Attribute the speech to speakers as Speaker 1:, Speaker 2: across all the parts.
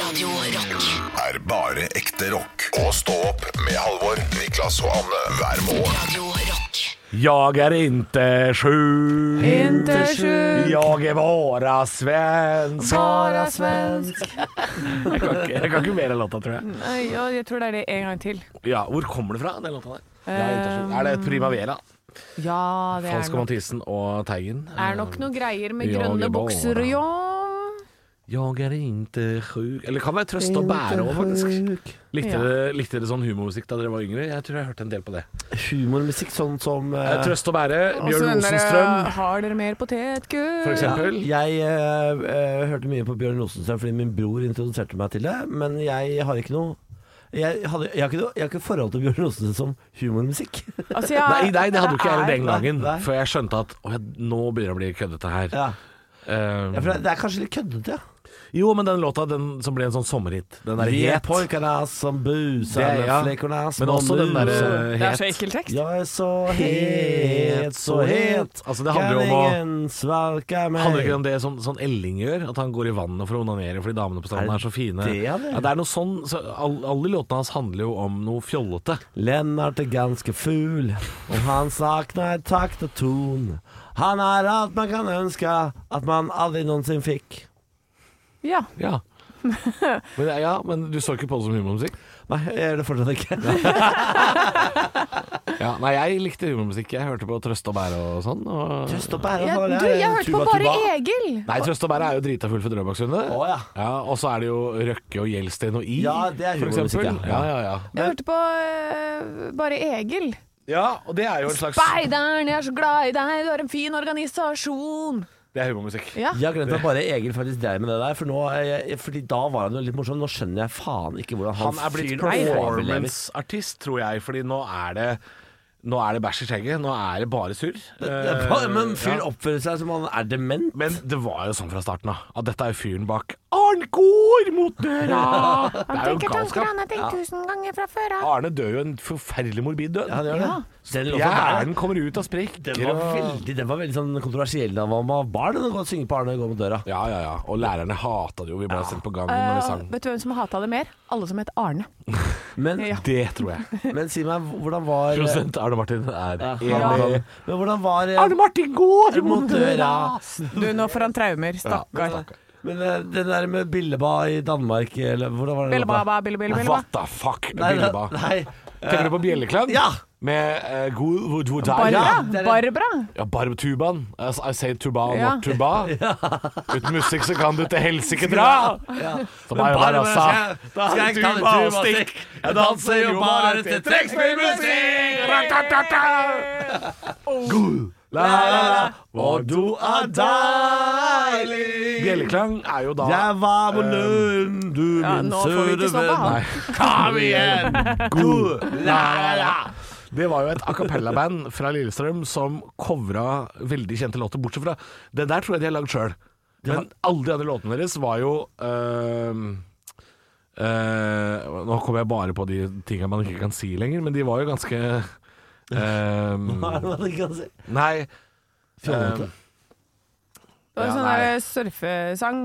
Speaker 1: Radio Rock.
Speaker 2: er bare ekte rock. Og stå opp med Halvor, Niklas og Anne hver morgen.
Speaker 1: Radio Rock.
Speaker 3: Jag är inte sjuk.
Speaker 4: Inte sjuk.
Speaker 3: Jag är bara svensk.
Speaker 4: Bara svensk.
Speaker 3: Jeg kan ikke, jeg kan ikke mer enn låta, tror jeg.
Speaker 4: Nei, ja, jeg tror det er det en gang til.
Speaker 3: Ja, Hvor kommer det fra, den låta der? Jeg er ikke sjuk. Er det Primavera?
Speaker 4: Ja, Eh, det er
Speaker 3: Falsk og
Speaker 4: nok,
Speaker 3: Mathisen og Teigen.
Speaker 4: er nok noe greier med
Speaker 3: Ja, det
Speaker 4: grønne
Speaker 3: er
Speaker 4: bukser
Speaker 3: bare-
Speaker 4: og ja.
Speaker 3: Jeg er ikke sjuk Eller kan være trøst og bære òg, faktisk. Likte
Speaker 4: Ja.
Speaker 3: dere, likte dere sånn humormusikk da dere var yngre? Jeg tror jeg hørte en del på det.
Speaker 5: humormusikk sånn som eh,
Speaker 3: Eh, Trøst og
Speaker 4: Og
Speaker 3: bære,
Speaker 4: så
Speaker 3: Bjørn
Speaker 4: Altså, den der,
Speaker 3: Rosenstrøm,
Speaker 4: Har dere mer potetgull?
Speaker 3: for eksempel.
Speaker 5: Jeg eh, eh, hørte mye på Bjørn Rosenstrøm fordi min bror introduserte meg til det, men jeg har ikke noe jeg, hadde, jeg, har ikke noe, jeg har ikke forhold til Bjørn Rosenstrøm som humormusikk.
Speaker 4: Altså, jeg-
Speaker 3: Nei, nei, det hadde jo ikke jeg
Speaker 4: er-
Speaker 3: den gangen.
Speaker 5: Nei.
Speaker 3: Før jeg skjønte at å, ja, nå begynner det å bli køddete her.
Speaker 5: ja.
Speaker 3: Eh,
Speaker 5: Ja, for det, det er kanskje litt køddete, ja.
Speaker 3: Jo, men den låta den som ble en sånn sommerhit. Den der
Speaker 5: Vi er
Speaker 3: het.
Speaker 5: pojkarna som busar
Speaker 3: Det er-
Speaker 5: med
Speaker 3: ja.
Speaker 5: flekorna som
Speaker 3: Men også den der
Speaker 5: musar.
Speaker 3: eh,
Speaker 4: Det er så
Speaker 3: het.
Speaker 4: ekkel tekst.
Speaker 5: Jeg er så het, så het
Speaker 3: Altså, det handler jo om å-
Speaker 5: Kan ingen svalke meg
Speaker 3: Handler ikke om det som sånn Elling gjør? At han går i vannet for å onanere fordi damene på stranden
Speaker 5: Er
Speaker 3: er, så fine?
Speaker 5: det han gjør?
Speaker 3: ja, det er noe sånn så all, Alle låtene hans handler jo om noe fjollete.
Speaker 5: Lennart er ganske fugl, og han savner takt og ton. Han er alt man kan ønske at man aldri noensinne fikk.
Speaker 4: Ja.
Speaker 3: Ja. Men, det er- ja, men du så ikke på det som humormusikk?
Speaker 5: Nei, jeg gjør det fortsatt ikke.
Speaker 3: Ja, nei, jeg likte humormusikk. Jeg hørte på Trøst og bære og sånn. Og...
Speaker 5: Trøst opp her.
Speaker 4: Jeg, du, jeg hørte på Bare e- Egil.
Speaker 3: Nei, Trøst og bære er jo drita full for Drøbaksundet.
Speaker 5: Å, ja.
Speaker 3: og så er det jo Røkke og Gjelsten og I,
Speaker 5: Ja, det er
Speaker 3: for
Speaker 5: humormusikk,
Speaker 3: eksempel.
Speaker 5: ja.
Speaker 3: Ja, ja, ja.
Speaker 4: Jeg hørte på eh, Bare Egil.
Speaker 3: ja, og det er jo en slags
Speaker 4: Speideren, jeg er så glad i deg, du har en fin organisasjon.
Speaker 3: Det er humormusikk.
Speaker 4: Ja.
Speaker 5: Jeg har glemt at bare Egil faktisk drev med det der, for nå, er jeg, fordi da var han jo litt morsom. Nå skjønner jeg faen ikke hvordan han,
Speaker 3: Han er blitt
Speaker 5: fyren overlever.
Speaker 3: performance-artist, tror jeg, fordi nå er det nå er det bæsj i skjegget. Nå er det bare surr.
Speaker 5: Det er bare- Men fyren
Speaker 3: eh, Ja.
Speaker 5: oppfører seg som han er dement.
Speaker 3: Men det var jo sånn fra starten av at dette er fyren bak Arn går mot døra! Det er jo galskap.
Speaker 4: har tenkt tusen ganger fra før av.
Speaker 3: Arne dør jo en forferdelig morbid død.
Speaker 5: Ja, han gjør det. Den låta der,
Speaker 3: Hjernen kommer ut av sprekker.
Speaker 5: den var
Speaker 3: og-
Speaker 5: veldig, den var veldig sånn kontroversiell da han var barn. Den å synge på Arne går mot døra.
Speaker 3: Ja, ja, ja. Og lærerne hata det jo. Vi ble sendt på gangen
Speaker 5: Eh,
Speaker 3: når vi sang.
Speaker 4: Eh, vet du hvem som hata det mer? Alle som het Arne.
Speaker 5: Men
Speaker 4: Ja.
Speaker 3: Det tror jeg.
Speaker 5: Men si meg, hvordan var eh,
Speaker 3: Prosent Arne Martin er
Speaker 5: Ja.
Speaker 3: enig.
Speaker 5: Men hvordan var eh,
Speaker 3: Arne Martin går
Speaker 5: mot døra!
Speaker 4: Du, nå får han traumer. Stakkar.
Speaker 5: Men eh, det der med Billeba i Danmark, eller hvordan var det?
Speaker 4: Billebaba, billebille, billebaba.
Speaker 3: What the fuck,
Speaker 5: Nei, nei,
Speaker 3: Billeba.
Speaker 5: nei.
Speaker 3: Tenker du på Bjelleklang?
Speaker 5: Ja!
Speaker 3: Med uh, Good Wood Wood
Speaker 4: Barbara.
Speaker 3: Ja,
Speaker 5: det er det.
Speaker 4: Barbara.
Speaker 3: ja Barbtuban. Eh, I say tuba,
Speaker 4: Ja.
Speaker 3: not tuba. Uten musikk så kan du til helsike dra. Så bare bare sa
Speaker 5: skal jeg ta
Speaker 3: tuba og
Speaker 5: tuba og stikk? Jeg danser jo bare til trekkspillmusikk!
Speaker 3: Ra-ta-ta-ta. Good. La, la, la.
Speaker 5: Og du er deilig
Speaker 3: Bjelleklang er jo da
Speaker 5: Jeg var på Lund, du
Speaker 4: Ja,
Speaker 5: min
Speaker 4: nå får vi
Speaker 5: søte
Speaker 4: ikke stoppa
Speaker 5: venn.
Speaker 4: han.
Speaker 5: Kom igjen! God la la!
Speaker 3: Det var jo et a cappella-band fra Lillestrøm som covra veldig kjente låter, bortsett fra Den der tror jeg de har lagd sjøl. Men alle de andre låtene deres var jo øhm, øh, Nå kommer jeg bare på de tinga man ikke kan si lenger, men de var jo ganske øhm,
Speaker 5: Hva er det man ikke kan si? Eh,
Speaker 3: Nei. ehm,
Speaker 5: Fjollete.
Speaker 3: øhm,
Speaker 4: Det var en
Speaker 3: Ja,
Speaker 4: sånn
Speaker 3: nei.
Speaker 4: der surfesang.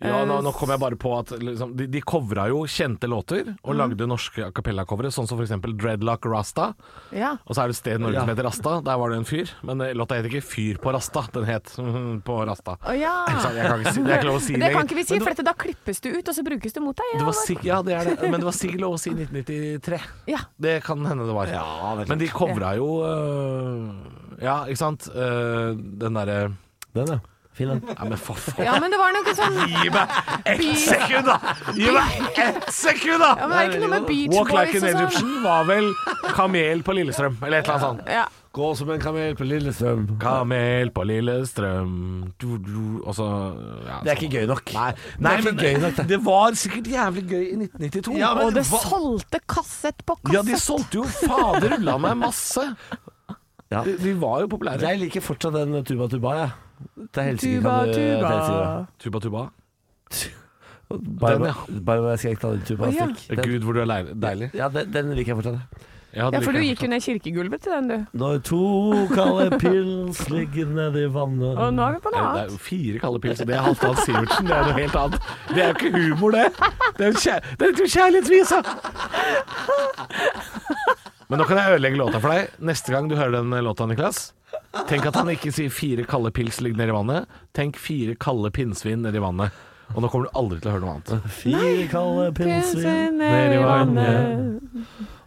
Speaker 3: ja,
Speaker 5: Eh,
Speaker 3: nå, nå kom jeg bare på at liksom, de, de covra jo kjente låter, og
Speaker 5: Mhm.
Speaker 3: lagde norske a cappella-covere, sånn som for eksempel Dreadlock Rasta.
Speaker 4: Ja.
Speaker 3: Og så er det et sted i Norge
Speaker 5: Ja.
Speaker 3: som heter Rasta. Der var det en fyr. Men eh, låta het ikke Fyr på Rasta, den het På Rasta.
Speaker 4: Å ja.
Speaker 3: Ikke sant? Jeg kan ikke si, det er ikke lov å si
Speaker 4: Det kan ikke vi si,
Speaker 3: Men
Speaker 4: for dette, da klippes det ut, og så brukes det mot deg.
Speaker 3: det
Speaker 4: Ja,
Speaker 3: var sikk- ja, det er det. Men det var sikkert lov å si 1993.
Speaker 4: ja.
Speaker 3: Det kan hende det var.
Speaker 5: Ja, det er klart.
Speaker 3: Men de covra jo øh, Ja, ikke sant? Øh, den derre
Speaker 5: Den, ja. Fin den.
Speaker 3: Nei, men for faen.
Speaker 4: ja, men det var noe sånn
Speaker 3: Gi meg ett sekund, da! Gi meg ett sekund,
Speaker 4: ja,
Speaker 3: da!
Speaker 4: men Er det ikke noe med Beach
Speaker 3: Walk like
Speaker 4: Boys
Speaker 3: an
Speaker 4: og sånn?
Speaker 3: Egyptian var vel Kamel på Lillestrøm, eller et eller annet sånt.
Speaker 4: Ja.
Speaker 5: Gå som en kamel på Lillestrøm.
Speaker 3: Kamel på Lillestrøm du, du, og så, ja,
Speaker 5: Det er ikke gøy nok.
Speaker 3: Nei,
Speaker 5: Nei,
Speaker 3: det,
Speaker 5: men-
Speaker 3: gøy nok det. det var sikkert jævlig gøy i 1992.
Speaker 5: Ja, men
Speaker 4: Og det
Speaker 5: hva-
Speaker 4: solgte kassett på
Speaker 3: Ja, de
Speaker 4: kassett.
Speaker 3: solgte jo fader ulla meg masse.
Speaker 5: Ja.
Speaker 3: De, de var jo populære.
Speaker 5: Jeg liker fortsatt den Tuba Tuba, jeg. Det er helt sikkert
Speaker 4: Tuba,
Speaker 5: kan du-
Speaker 4: tuba.
Speaker 5: det er helt
Speaker 3: Tuba Tuba.
Speaker 5: sikkert.
Speaker 3: Den,
Speaker 5: Bare
Speaker 3: ja.
Speaker 5: bare- bare skal jeg ikke ta den Tuba
Speaker 4: Å, ja.
Speaker 5: Stikk. Den,
Speaker 3: Gud, hvor du er leil- deilig.
Speaker 5: ja, den, den liker jeg fortsatt.
Speaker 3: Jeg hadde
Speaker 1: Ja,
Speaker 3: like
Speaker 1: for du
Speaker 3: gjerne
Speaker 1: gikk jo ned kirkegulvet til den,
Speaker 3: Mm.
Speaker 1: du.
Speaker 5: Når to kalde pils ligger nedi vannet
Speaker 1: Og nå er vi
Speaker 3: Det
Speaker 1: på noe
Speaker 3: er- det er
Speaker 1: annet.
Speaker 3: jo fire kalde pils, og det er Halvdan Sivertsen. Det er noe helt annet. Det er jo ikke humor, det. Det er jo kjær, det er jo kjærlighetsvisa! Men nå kan jeg ødelegge låta for deg. Neste gang du hører den låta, Niklas Tenk at han ikke sier 'fire kalde pils ligger nedi vannet'. Tenk 'fire kalde pinnsvin nedi vannet'. Og nå kommer du aldri til å høre noe annet.
Speaker 5: Fire kalde pilser,
Speaker 1: Pinnsvin ned i vannet.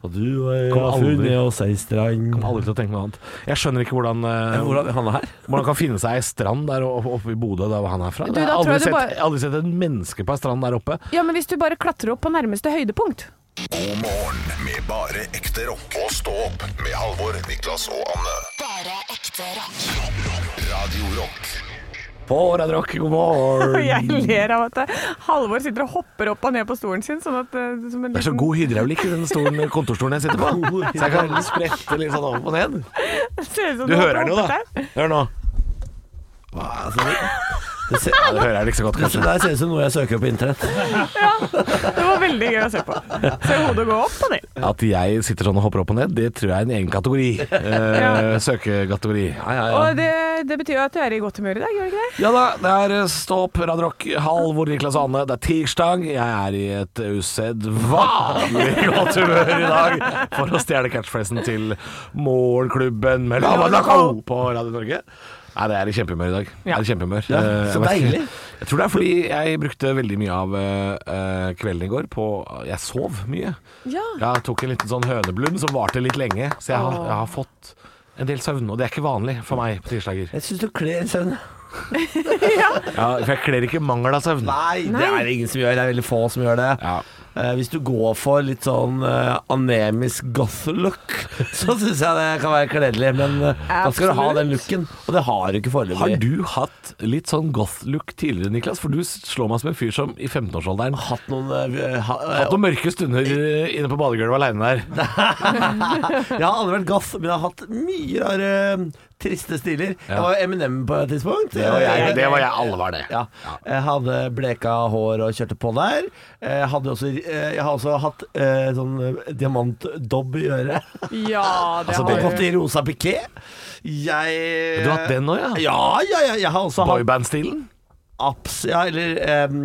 Speaker 5: og du og jeg
Speaker 3: Kom
Speaker 5: har
Speaker 3: aldri.
Speaker 5: funnet oss ei strand
Speaker 3: Kommer aldri til å tenke noe annet. Jeg skjønner ikke hvordan eh,
Speaker 5: Hvordan han er her?
Speaker 3: hvordan kan finne seg ei strand der oppe, oppe i Bodø, der hvor han er fra.
Speaker 1: Du,
Speaker 3: jeg, har
Speaker 1: da tror
Speaker 3: aldri
Speaker 1: jeg
Speaker 3: sett,
Speaker 1: du bare-
Speaker 3: jeg har aldri sett et menneske på ei strand der oppe.
Speaker 1: Ja, men hvis du bare klatrer opp på nærmeste høydepunkt.
Speaker 2: God morgen med bare ekte rock. Og stå opp med Halvor, Niklas og Anne.
Speaker 6: Bare ekte rock.
Speaker 2: Rock, rock, Radio Rock.
Speaker 3: På Radio Rock, god morgen!
Speaker 1: Jeg ler av at eh, Halvor sitter og hopper opp og ned på stolen sin, sånn at eh, som en
Speaker 3: Det er så
Speaker 1: liten
Speaker 3: god hydraulikk i den stolen, kontorstolen jeg sitter på. Så jeg kan sprette litt sånn opp og ned.
Speaker 1: Ser ut som
Speaker 3: Du
Speaker 1: har
Speaker 3: hører den jo, da.
Speaker 1: hoppet der.
Speaker 3: Hør nå.
Speaker 5: Det ser,
Speaker 3: Ja, det hører jeg ikke så godt,
Speaker 5: det
Speaker 3: kanskje.
Speaker 5: der ser ut som noe jeg søker opp på internett.
Speaker 1: Det var veldig gøy å se på. Se hodet gå opp og ned.
Speaker 3: At jeg sitter sånn og hopper opp og ned, det tror jeg er en egen kategori. Eh, søkekategori. Ja, ja, ja.
Speaker 1: Og det, det betyr jo at du er i godt humør i dag, gjør det ikke det?
Speaker 3: ja da, det er eh, Stå opp, Radio Rock, Halvor, Niklas og Anne. Det er tirsdag. Jeg er i et usedvanlig godt humør i dag for å stjele catchphrasen til Morgenklubben med Lava Laco på Radio Norge. Nei, det er i kjempehumør i dag.
Speaker 1: Ja.
Speaker 3: Er i kjempehumør.
Speaker 5: Ja,
Speaker 3: Eh,
Speaker 5: så
Speaker 3: jeg vet ikke.
Speaker 5: deilig.
Speaker 3: Jeg tror det er fordi jeg brukte veldig mye av eh, eh, kvelden i går på Jeg sov mye.
Speaker 1: Ja.
Speaker 3: Jeg tok en liten sånn høneblund som varte litt lenge, så jeg har, jeg har fått en del søvn. Og det er ikke vanlig for meg på tirsdager.
Speaker 5: Jeg syns du kler søvn.
Speaker 3: Ja, for jeg kler ikke mangel av søvn.
Speaker 5: Nei, det er det ingen som gjør. Det er veldig få som gjør det.
Speaker 3: Ja.
Speaker 5: Eh, hvis du går for litt sånn eh, anemisk goth-look, så syns jeg det kan være kledelig. Men eh, da skal du ha den looken, og det har du ikke
Speaker 3: Har
Speaker 5: foreløpig.
Speaker 3: du hatt litt sånn goth-look tidligere, Niklas? For du slår meg som en fyr som i 15-årsalderen
Speaker 5: har hatt noen eh, ha, eh,
Speaker 3: hatt noen mørke stunder eh, inne på badegulvet aleine der.
Speaker 5: Jeg har aldri vært goth, men jeg har hatt mye rare eh, triste stiler. Jeg var jo Eminem på et tidspunkt.
Speaker 3: Det var jeg,
Speaker 5: Eh,
Speaker 3: det var jeg alle var det.
Speaker 5: Ja. Jeg hadde bleka hår og kjørte på der. Jeg, hadde også, eh, jeg har også hatt eh, sånn eh, diamantdobb i øret.
Speaker 1: Ja, det
Speaker 5: Altså,
Speaker 1: har
Speaker 5: Gått
Speaker 1: du.
Speaker 5: i rosa piké. Jeg
Speaker 3: Du har hatt den òg, ja?
Speaker 5: Ja, ja, ja. Jeg har også hatt
Speaker 3: Boyband-stilen?
Speaker 5: abs... Ja, eller em,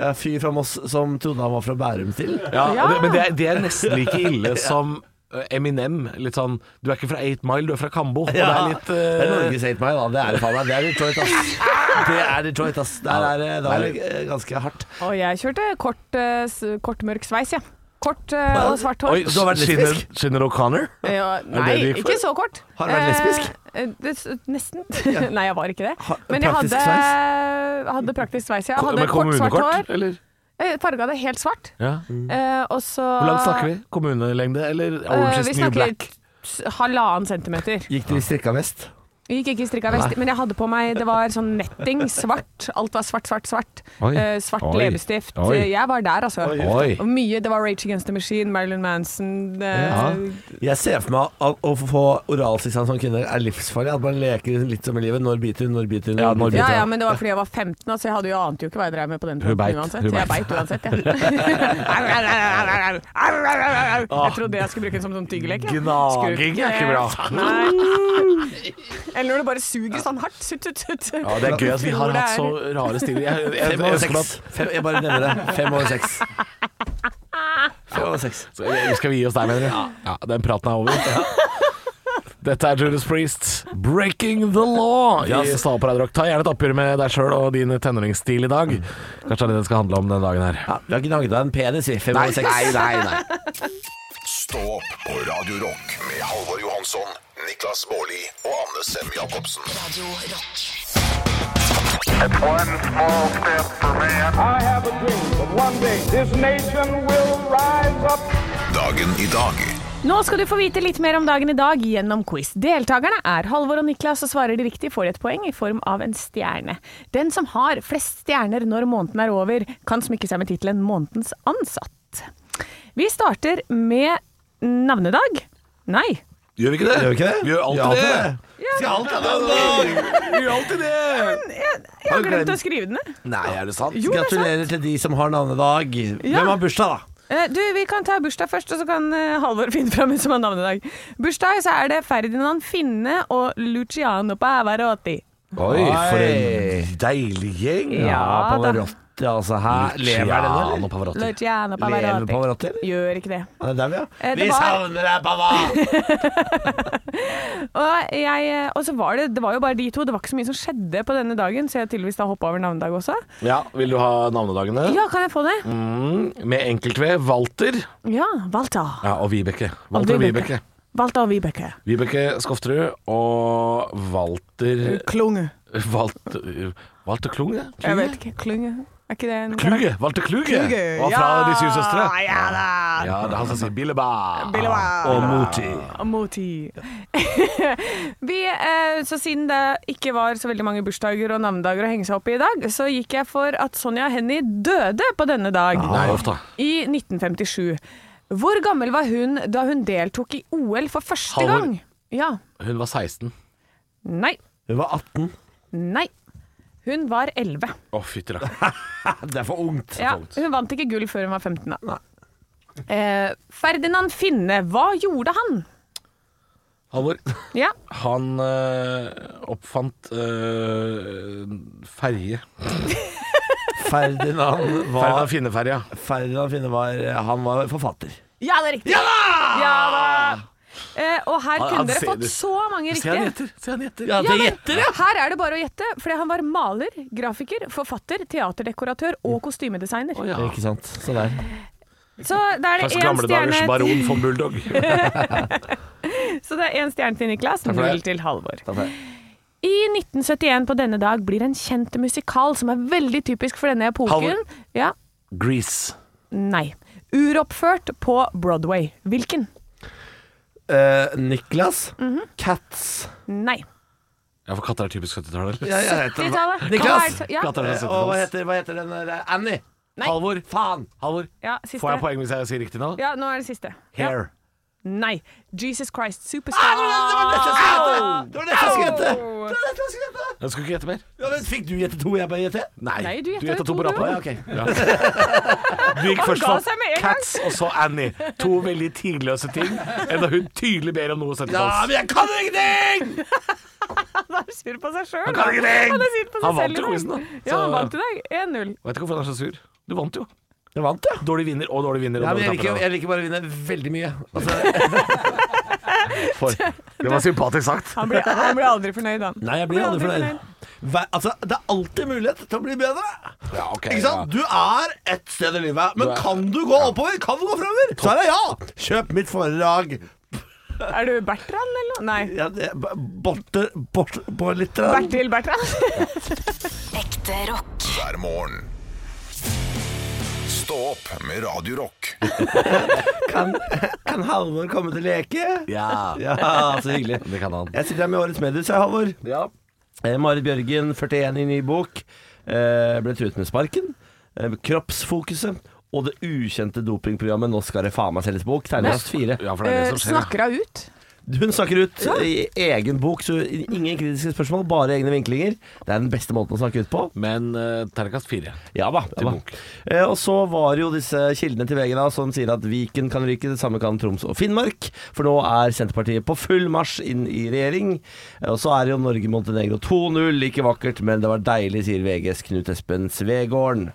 Speaker 5: ja, fyr fra Moss som trodde han var fra Bærum til.
Speaker 3: Ja,
Speaker 1: Ja.
Speaker 3: og Det, men det er, det er nesten like ille som eh, Eminem. Litt sånn Du er ikke fra 8 Mile, du er fra Kambo. Og det er litt
Speaker 5: det er
Speaker 3: eh,
Speaker 5: Norges hate meg, da. Det er det faen meg. Det er Detroit, ass. Det er Detroit, ass. Der er det der er det eh, ganske hardt.
Speaker 1: Og jeg kjørte kort, eh, s- kort mørk sveis, ja. Kort eh, og svart hår.
Speaker 3: Oi,
Speaker 5: Du har vært
Speaker 3: Shinner,
Speaker 5: lesbisk?
Speaker 3: Shinner O'Connor?
Speaker 1: Ja,
Speaker 3: det
Speaker 1: nei,
Speaker 3: det gikk for?
Speaker 1: ikke så kort.
Speaker 5: Har du vært lesbisk?
Speaker 1: Eh, eh, det, s- nesten. nei, jeg var ikke det.
Speaker 5: Ha-
Speaker 1: Men jeg
Speaker 5: praktisk
Speaker 1: hadde,
Speaker 5: sveis?
Speaker 1: hadde praktisk sveis. Jeg
Speaker 3: Med
Speaker 1: hadde kort, svart
Speaker 3: kommunekort,
Speaker 1: hår.
Speaker 3: eller?
Speaker 1: Jeg farga det helt svart.
Speaker 3: Ja.
Speaker 1: Eh, og så eh,
Speaker 3: Hvor langt snakker vi? Kommunelengde eller Orange
Speaker 1: vi
Speaker 3: is New
Speaker 1: snakker
Speaker 3: Black?
Speaker 1: s- halvannen centimeter.
Speaker 5: Gikk dere i strikka vest?
Speaker 1: Jeg gikk ikke i strikka vest, men jeg hadde på meg Det var sånn netting, svart. Alt var svart, svart, svart.
Speaker 3: Oi.
Speaker 1: Eh, svart
Speaker 3: Oi.
Speaker 1: leppestift.
Speaker 3: Oi.
Speaker 1: Eh, Jeg var der, altså.
Speaker 3: Oi.
Speaker 1: Og mye. Det var Rage Against the Machine, Marilyn Manson eh,
Speaker 5: Jeg ser for meg at å få oralseksam som kvinne er livsfarlig. At man leker litt som i livet. Når biter hun, når biter hun?
Speaker 3: Ja, når biter
Speaker 1: Ja,
Speaker 3: hun.
Speaker 1: ja, men det var fordi jeg var 15, altså jeg hadde jo ante jo ikke hva jeg drev med på den
Speaker 3: Hun beit,
Speaker 1: tiden uansett.
Speaker 3: hun
Speaker 1: Så jeg
Speaker 3: beit.
Speaker 1: beit uansett, jeg. Jeg trodde jeg skulle bruke den som sånn tyggelek. jeg.
Speaker 3: Gnaging er ikke bra.
Speaker 1: Skruk. Nei. Eller når du bare suger sånn hardt. Sutt, sutt, sutt.
Speaker 3: Ja, det er gøy at vi har
Speaker 1: Hvor det
Speaker 3: hatt så
Speaker 1: er-
Speaker 3: rare stiler. Jeg, jeg, jeg,
Speaker 5: Fem over
Speaker 3: jeg,
Speaker 5: seks. Fem, jeg bare nevner det. Fem over seks. Fem over seks.
Speaker 3: Så jeg- Skal vi gi oss der, mener du? Ja, den praten er over. Dette er Judas Priest, 'Breaking the Law' i
Speaker 5: Yes.
Speaker 3: Stad på Radio Rock. Ta gjerne et oppgjør med deg sjøl og din tenåringsstil i dag. Kanskje det er det det skal handle om den dagen her.
Speaker 5: Ja, vi har gnagd deg en penis, vi. Fem over seks.
Speaker 2: Stå opp på Radio Rock med Halvor Johansson, Niklas Baarli og Anne Sem Jacobsen.
Speaker 6: Radio rock.
Speaker 7: It's one small step for man.
Speaker 8: I have a dream that one day this nation will rise up.
Speaker 2: Dagen i dag
Speaker 1: Nå skal du få vite litt mer om dagen i dag gjennom quiz. Deltakerne er Halvor og Niklas, og svarer de riktig får de et poeng i form av en stjerne. Den som har flest stjerner når måneden er over, kan smykke seg med tittelen 'Månedens ansatt'. Vi starter med navnedag. Nei.
Speaker 3: Gjør vi ikke det?
Speaker 5: Gjør vi ikke det?
Speaker 3: Gjør alltid
Speaker 5: Ja,
Speaker 3: det.
Speaker 5: Skal alt ha den dag?
Speaker 3: Gjør alltid det.
Speaker 1: Jeg har
Speaker 5: Har du
Speaker 1: glemt
Speaker 5: glemt?
Speaker 1: å skrive den ned.
Speaker 5: Nei, er det sant?
Speaker 1: det er sant.
Speaker 5: Gratulerer til de som har navnedag. Hvem har bursdag, da?
Speaker 1: Eh, Du, vi kan ta bursdag først, og så kan eh, Halvor finne fram ut som har navnedag. Bursdag så er det Ferdinand Finne og Luciano Pavarotti.
Speaker 5: Oi, for en
Speaker 3: Deilig gjeng.
Speaker 1: Ja, da.
Speaker 5: Pavarotti, altså. Her lever den, eller?
Speaker 3: Luciano Pavarotti.
Speaker 1: Luciano
Speaker 5: Lever
Speaker 1: Pavarotti.
Speaker 5: Pavarotti, eller?
Speaker 1: Gjør ikke det.
Speaker 5: Ja, det er der, ja.
Speaker 1: Eh, det var,
Speaker 5: deg, Pava!
Speaker 1: og, jeg, eh, og så var det, det var jo bare de to, det var ikke så mye som skjedde på denne dagen, så jeg har tydeligvis da hoppa over navnedag også.
Speaker 3: Ja, Vil du ha navnedagene?
Speaker 1: Ja, kan jeg få det?
Speaker 3: Mm, med enkeltve Walter
Speaker 1: Ja, Walter.
Speaker 3: ja, og Vibeke. Walter og Vibeke.
Speaker 1: Walter og Vibeke.
Speaker 3: Vibeke Skofterud og Walter
Speaker 1: Klunge.
Speaker 3: Walter, Walter Klunge?
Speaker 1: Jeg vet ikke. Klunge. Er ikke det en
Speaker 3: Kluge! Walter Kluge!
Speaker 1: Kluge,
Speaker 3: Og fra
Speaker 1: ja,
Speaker 3: De syv søstre.
Speaker 1: ja da.
Speaker 3: Ja, det er han som sier Billeba.
Speaker 1: Billeba.
Speaker 5: Og Moti.
Speaker 1: Moti. Vi, eh, så siden det ikke var så veldig mange bursdager og navnedager å henge seg opp i i dag, så gikk jeg for at Sonja Hennie døde på denne dag
Speaker 3: Nei, uff da.
Speaker 1: i 1957. Hvor gammel var hun da hun deltok i OL for første
Speaker 3: Halvor.
Speaker 1: gang? Ja.
Speaker 3: Hun var 16.
Speaker 1: Nei.
Speaker 5: Hun var 18.
Speaker 1: Nei. Hun var 11.
Speaker 3: Å, fytti rakkeren.
Speaker 5: Det er for ungt.
Speaker 1: Ja, hun vant ikke gull før hun var 15, da. Eh, Ferdinand Finne, hva gjorde han?
Speaker 3: Halvor,
Speaker 1: Ja.
Speaker 3: han eh, oppfant uh, ferje.
Speaker 5: Ferdinand
Speaker 3: Ferdinand
Speaker 5: var,
Speaker 3: Finneferja.
Speaker 5: Ferdinand Finne var Han var forfatter.
Speaker 1: Ja, det er riktig. Ja da! Eh, og
Speaker 3: Han-
Speaker 1: her
Speaker 3: han
Speaker 1: kunne dere
Speaker 3: ser
Speaker 1: fått
Speaker 3: det.
Speaker 1: så mange riktige.
Speaker 3: Se han gjetter.
Speaker 1: Ja, men Her er det bare å gjette, fordi han var maler, grafiker, forfatter, teaterdekoratør og kostymedesigner.
Speaker 3: Mm. Å, ja.
Speaker 5: Ikke sant. Så der.
Speaker 1: Så da er det
Speaker 3: Slags
Speaker 1: én
Speaker 3: gamledagers
Speaker 1: stjerne,
Speaker 3: baron von Bulldog.
Speaker 1: så det er én stjerne til Niklas,
Speaker 3: for det.
Speaker 1: null til Halvor.
Speaker 5: for det.
Speaker 1: I 1971 på denne dag blir en kjent musikal som er veldig typisk for denne epoken.
Speaker 3: Halvor.
Speaker 1: Ja,
Speaker 3: Grease.
Speaker 1: nei. Uroppført på Broadway. Hvilken?
Speaker 5: Eh, Niklas.
Speaker 1: Mhm.
Speaker 5: Cats.
Speaker 1: Nei.
Speaker 3: Ja, for katter er typisk 70-tallet. eller?
Speaker 5: Ja, jeg vet det.
Speaker 1: 70-tallet.
Speaker 5: Niklas!
Speaker 1: Ja,
Speaker 3: Katter er
Speaker 5: Eh, Og hva
Speaker 3: 70-tallet.
Speaker 5: heter, hva heter den der Annie?
Speaker 1: Nei.
Speaker 5: Halvor. Faen!
Speaker 3: Halvor,
Speaker 1: ja,
Speaker 3: får jeg
Speaker 1: siste.
Speaker 3: poeng hvis jeg sier riktig nå?
Speaker 1: Ja, nå er det siste. Ja.
Speaker 3: Hair.
Speaker 1: Nei. Jesus Christ
Speaker 5: Ah,
Speaker 1: Superstar. Ah!
Speaker 5: det var det- det var dette jeg skulle gjette! Det var
Speaker 1: Au!
Speaker 5: dette jeg skulle gjette! Det var dette jeg skulle gjette!
Speaker 3: Jeg skulle ikke gjette mer.
Speaker 5: Ja, men Fikk du gjette to, og jeg bare gjette?
Speaker 1: Nei, du gjettet jo
Speaker 3: gjettet to
Speaker 1: to,
Speaker 3: på
Speaker 1: du.
Speaker 3: rappen.
Speaker 5: Ja, ok.
Speaker 3: Du gikk
Speaker 1: Han
Speaker 3: først
Speaker 1: ga seg med
Speaker 3: for
Speaker 1: en gang.
Speaker 3: Cats og så Annie. To veldig tidløse ting. Enda hun tydelig ber om noe
Speaker 5: Ja,
Speaker 3: 70-talls.
Speaker 5: men jeg kan ingenting!
Speaker 1: Han er sur på seg sjøl.
Speaker 3: Han kan ingenting!
Speaker 1: Han er sur på seg
Speaker 3: Han vant
Speaker 1: selv i
Speaker 3: jo
Speaker 1: dag.
Speaker 3: quizen, da.
Speaker 1: Ja, han
Speaker 3: Så-
Speaker 1: vant i dag. 1-0.
Speaker 3: Vet ikke hvorfor han er så sur. Du vant jo.
Speaker 5: Jeg vant, ja.
Speaker 3: Dårlig vinner og dårlig vinner. Og
Speaker 5: Ja, men jeg
Speaker 3: dårlig
Speaker 5: liker,
Speaker 3: tapper.
Speaker 5: jeg liker bare å vinne veldig mye. Altså,
Speaker 3: Det var sympatisk sagt.
Speaker 1: Han blir, han blir aldri fornøyd, han.
Speaker 5: nei, jeg blir aldri fornøyd. Hver- Altså, det er alltid mulighet til å bli bedre.
Speaker 3: Ja, ok,
Speaker 5: Ikke sant? Du er et sted i livet, men
Speaker 3: Du er-
Speaker 5: kan du gå oppover? Kan du gå framover? Så er det ja! Kjøp mitt foredrag.
Speaker 1: Er du Bertrand, eller noe? Nei.
Speaker 5: Ja, det- b- Borte bort, på litt grann.
Speaker 1: Bertil Bertrand.
Speaker 6: Ekte rock.
Speaker 2: hver morgen. Stå opp med Radio Rock.
Speaker 5: Kan, kan Halvor komme til leke?
Speaker 3: Ja.
Speaker 5: Ja, så hyggelig.
Speaker 3: Det kan han.
Speaker 5: Jeg sitter her med årets medius, jeg, Halvor.
Speaker 3: Ja.
Speaker 5: Eh, Marit Bjørgen, 41 i ny bok, eh, ble truet med sparken. Eh, kroppsfokuset og det ukjente dopingprogrammet Nå skal det faen meg selges bok, terningkast fire.
Speaker 3: ja, for det er det som skjer. ja.
Speaker 1: Eh, Snakker hun ut?
Speaker 5: Hun snakker ut i egen bok, så ingen kritiske spørsmål, bare egne vinklinger. Det er den beste måten å snakke ut på.
Speaker 3: Men uh, terningkast fire.
Speaker 5: Ja da. Ja, da.
Speaker 3: bok.
Speaker 5: Eh, og så var det jo disse kildene til VG da, som sier at Viken kan ryke, det samme kan Troms og Finnmark. For nå er Senterpartiet på full marsj inn i regjering. Eh, og så er det jo Norge-Montenegro 2-0, like vakkert, men det var deilig, sier VGs Knut Espen Svegården.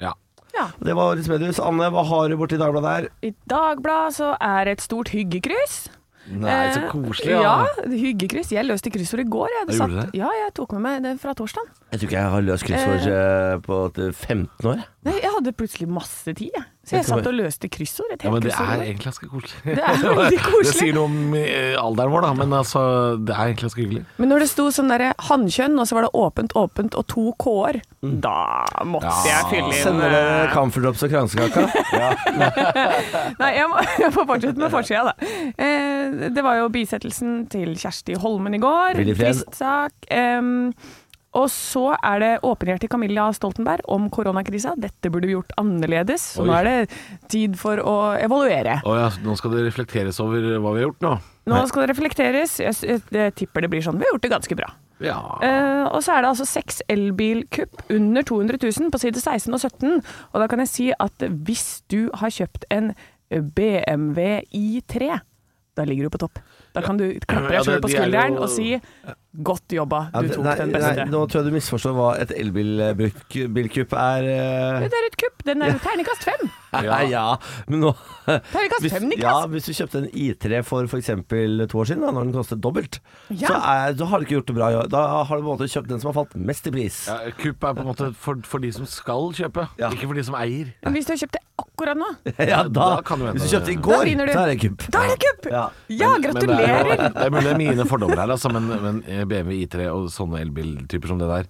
Speaker 3: Ja.
Speaker 5: Det var årets mediehus. Anne, hva har du borti Dagbladet her?
Speaker 1: I Dagbladet så er det et stort hyggekryss.
Speaker 3: Nei, så
Speaker 1: Eh,
Speaker 3: koselig.
Speaker 1: Ja,
Speaker 3: Ja.
Speaker 1: hyggekryss. Jeg løste kryssord i går. Jeg,
Speaker 3: Ja, gjorde du det?
Speaker 1: Ja, jeg tok med meg det fra torsdag.
Speaker 5: Jeg tror ikke jeg har løst kryssord eh, på et 15 år.
Speaker 1: Nei, jeg hadde plutselig masse tid, jeg. Så jeg satt og løste kryssord. Et
Speaker 3: Ja,
Speaker 1: helt
Speaker 3: men det
Speaker 1: kryssord i
Speaker 3: er
Speaker 1: går.
Speaker 3: egentlig ganske koselig.
Speaker 1: det er veldig
Speaker 3: Det
Speaker 1: koselig.
Speaker 3: sier noe om eh, alderen vår, da, men altså, det er egentlig ganske hyggelig.
Speaker 1: Men når det sto sånn derre hannkjønn, og så var det åpent, åpent og to k-er,
Speaker 3: Mm.
Speaker 1: da måtte jeg fylle inn. eh,
Speaker 5: Sender dere camferdrops og kransekaka?
Speaker 1: Nei, jeg må, jeg får fortsette med forsida, da. Eh, det var jo bisettelsen til Kjersti Holmen i går.
Speaker 5: Hvil i fred.
Speaker 1: Trist sak. Em, og så er det åpenhjertig Camilla Stoltenberg om koronakrisa. Dette burde vi gjort annerledes. Så nå
Speaker 3: Oi.
Speaker 1: er det tid for å evaluere.
Speaker 3: Å ja, nå skal det reflekteres over hva vi har gjort nå.
Speaker 1: Nå skal det reflekteres. Jeg, s- jeg tipper det blir sånn. Vi har gjort det ganske bra.
Speaker 3: Ja.
Speaker 1: Eh, og så er det altså seks elbilkupp under 200 000 på side 16 og 17. Og da kan jeg si at hvis du har kjøpt en BMW i3, da ligger du på topp. Da kan du klappe
Speaker 3: Ja,
Speaker 1: deg
Speaker 3: det-
Speaker 1: sjøl på
Speaker 3: de er jo-
Speaker 1: skulderen og si 'godt jobba,
Speaker 5: Ja,
Speaker 1: du
Speaker 5: det-
Speaker 1: tok
Speaker 5: nei,
Speaker 1: den
Speaker 5: nei,
Speaker 1: beste'.
Speaker 5: nå tror jeg du misforstår hva et elbilkupp er. eh.
Speaker 1: Det er et kupp. Den er jo terningkast fem.
Speaker 5: Ja. men nå
Speaker 1: Terningkast
Speaker 5: hvis,
Speaker 1: fem, Niklas.
Speaker 5: ja, hvis du kjøpte en I3 for f.eks. to år siden, da, når den kostet dobbelt,
Speaker 1: Ja.
Speaker 5: så er, da har du ikke gjort det bra. ja. Da har du på en måte kjøpt den som har falt mest i pris.
Speaker 3: Ja, Kupp er på en måte for, for de som skal kjøpe,
Speaker 5: Ja.
Speaker 3: ikke for de som eier.
Speaker 1: Men hvis du har kjøpt det akkurat nå,
Speaker 5: Ja, da,
Speaker 3: Da kan du vente.
Speaker 5: Hvis du kjøpte i
Speaker 1: Da
Speaker 5: går,
Speaker 1: vinner du.
Speaker 5: så er det kupp.
Speaker 1: da er det kupp!
Speaker 5: Ja.
Speaker 1: Ja,
Speaker 3: Men det er
Speaker 1: gratulerer!
Speaker 3: jo- det er mulig det er mine fordommer her, altså, men, men BMW I3 og sånne elbiltyper som det der,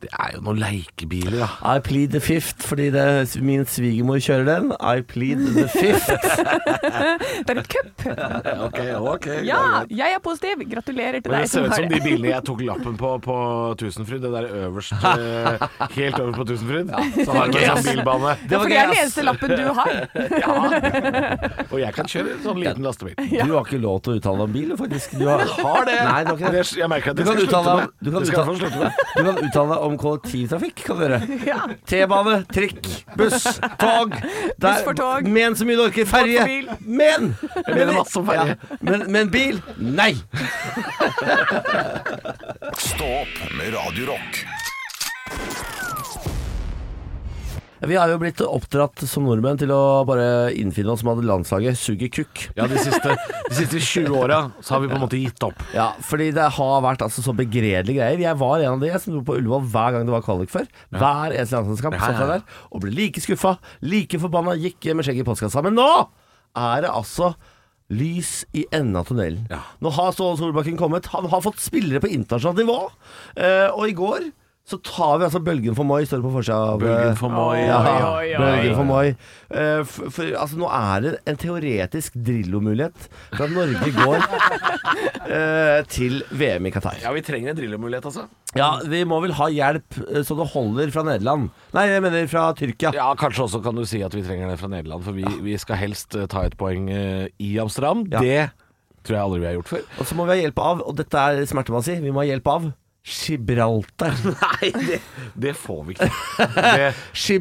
Speaker 3: det er jo noen leikebiler, da.
Speaker 5: I plead the fifth, fordi det, min svigermor kjører den. I plead the fifth.
Speaker 1: Det er et kupp.
Speaker 3: Ok, ok.
Speaker 1: Ja, jeg er positiv. Gratulerer til
Speaker 3: Men det
Speaker 1: deg
Speaker 3: ser
Speaker 1: som
Speaker 3: ut
Speaker 1: har
Speaker 3: som de bilene jeg tok lappen på på Tusenfryd. Det der øverst eh, Helt over på Tusenfryd. Så har de en sånn bilbane.
Speaker 1: Ja,
Speaker 5: var
Speaker 1: for det er
Speaker 5: gøy,
Speaker 1: den
Speaker 5: ass.
Speaker 1: eneste lappen du har.
Speaker 3: Og jeg kan kjøre en sånn liten lastebil.
Speaker 5: Du har ikke lov til å uttale deg om bil, faktisk. Du har,
Speaker 3: Har det!
Speaker 5: Nei, det var ikke det.
Speaker 3: Jeg merker at
Speaker 5: Du
Speaker 3: det
Speaker 5: kan
Speaker 3: skal jeg slutte
Speaker 5: uttale deg
Speaker 3: med.
Speaker 5: om- du kan
Speaker 3: Det skal jeg
Speaker 5: uttale-
Speaker 3: få slutte med.
Speaker 5: Du kan uttale deg om kollektivtrafikk, kan du gjøre. T-bane, trikk, buss, tog. Der-
Speaker 1: for tog.
Speaker 5: Men så mye du orker. Ferje.
Speaker 1: bil.
Speaker 5: Men!
Speaker 3: mener masse om ferje.
Speaker 5: Ja, men, men bil? Nei!
Speaker 2: Stå opp med Radio Rock.
Speaker 5: Vi har jo blitt oppdratt som nordmenn til å bare innfinne oss med at landslaget suger kukk.
Speaker 3: Ja, de siste, de siste 20 åra så har vi på en måte gitt opp.
Speaker 5: Ja, fordi det har vært altså, så begredelige greier. Jeg var en av de jeg som dro på Ullevål hver gang det var kvalik før. Hver eneste
Speaker 3: Ja,
Speaker 5: landslagskamp
Speaker 3: ja, ja.
Speaker 5: satt jeg der og ble like skuffa, like forbanna, gikk med skjegget i postkassa. Men nå er det altså Lys i enden av tunnelen.
Speaker 3: Ja.
Speaker 5: Nå har Ståle Solbakken kommet. Han har fått spillere på internasjonalt nivå. Eh, og i går så tar vi altså bølgen for Moi, står det på forsida av eh,
Speaker 3: Bølgen for Moi.
Speaker 5: ja,
Speaker 1: oi, oi.
Speaker 5: Bølgen for Moi. Eh, f- for, altså, nå er det en teoretisk Drillo-mulighet for at Norge går eh, til VM i Qatar.
Speaker 3: Ja, vi trenger en drillemulighet, altså.
Speaker 5: Ja, vi må vel ha hjelp eh, så det holder fra Nederland. Nei, jeg mener fra Tyrkia.
Speaker 3: Ja, Kanskje også kan du si at vi trenger det fra Nederland, for vi, vi skal helst eh, ta et poeng eh, i Amsterdam.
Speaker 5: Ja.
Speaker 3: Det tror jeg aldri vi har gjort før.
Speaker 5: Og så må vi ha hjelp av, og dette er smerte man sier, vi må ha hjelp av Gibraltar.
Speaker 3: Nei, det, det får vi ikke. Det,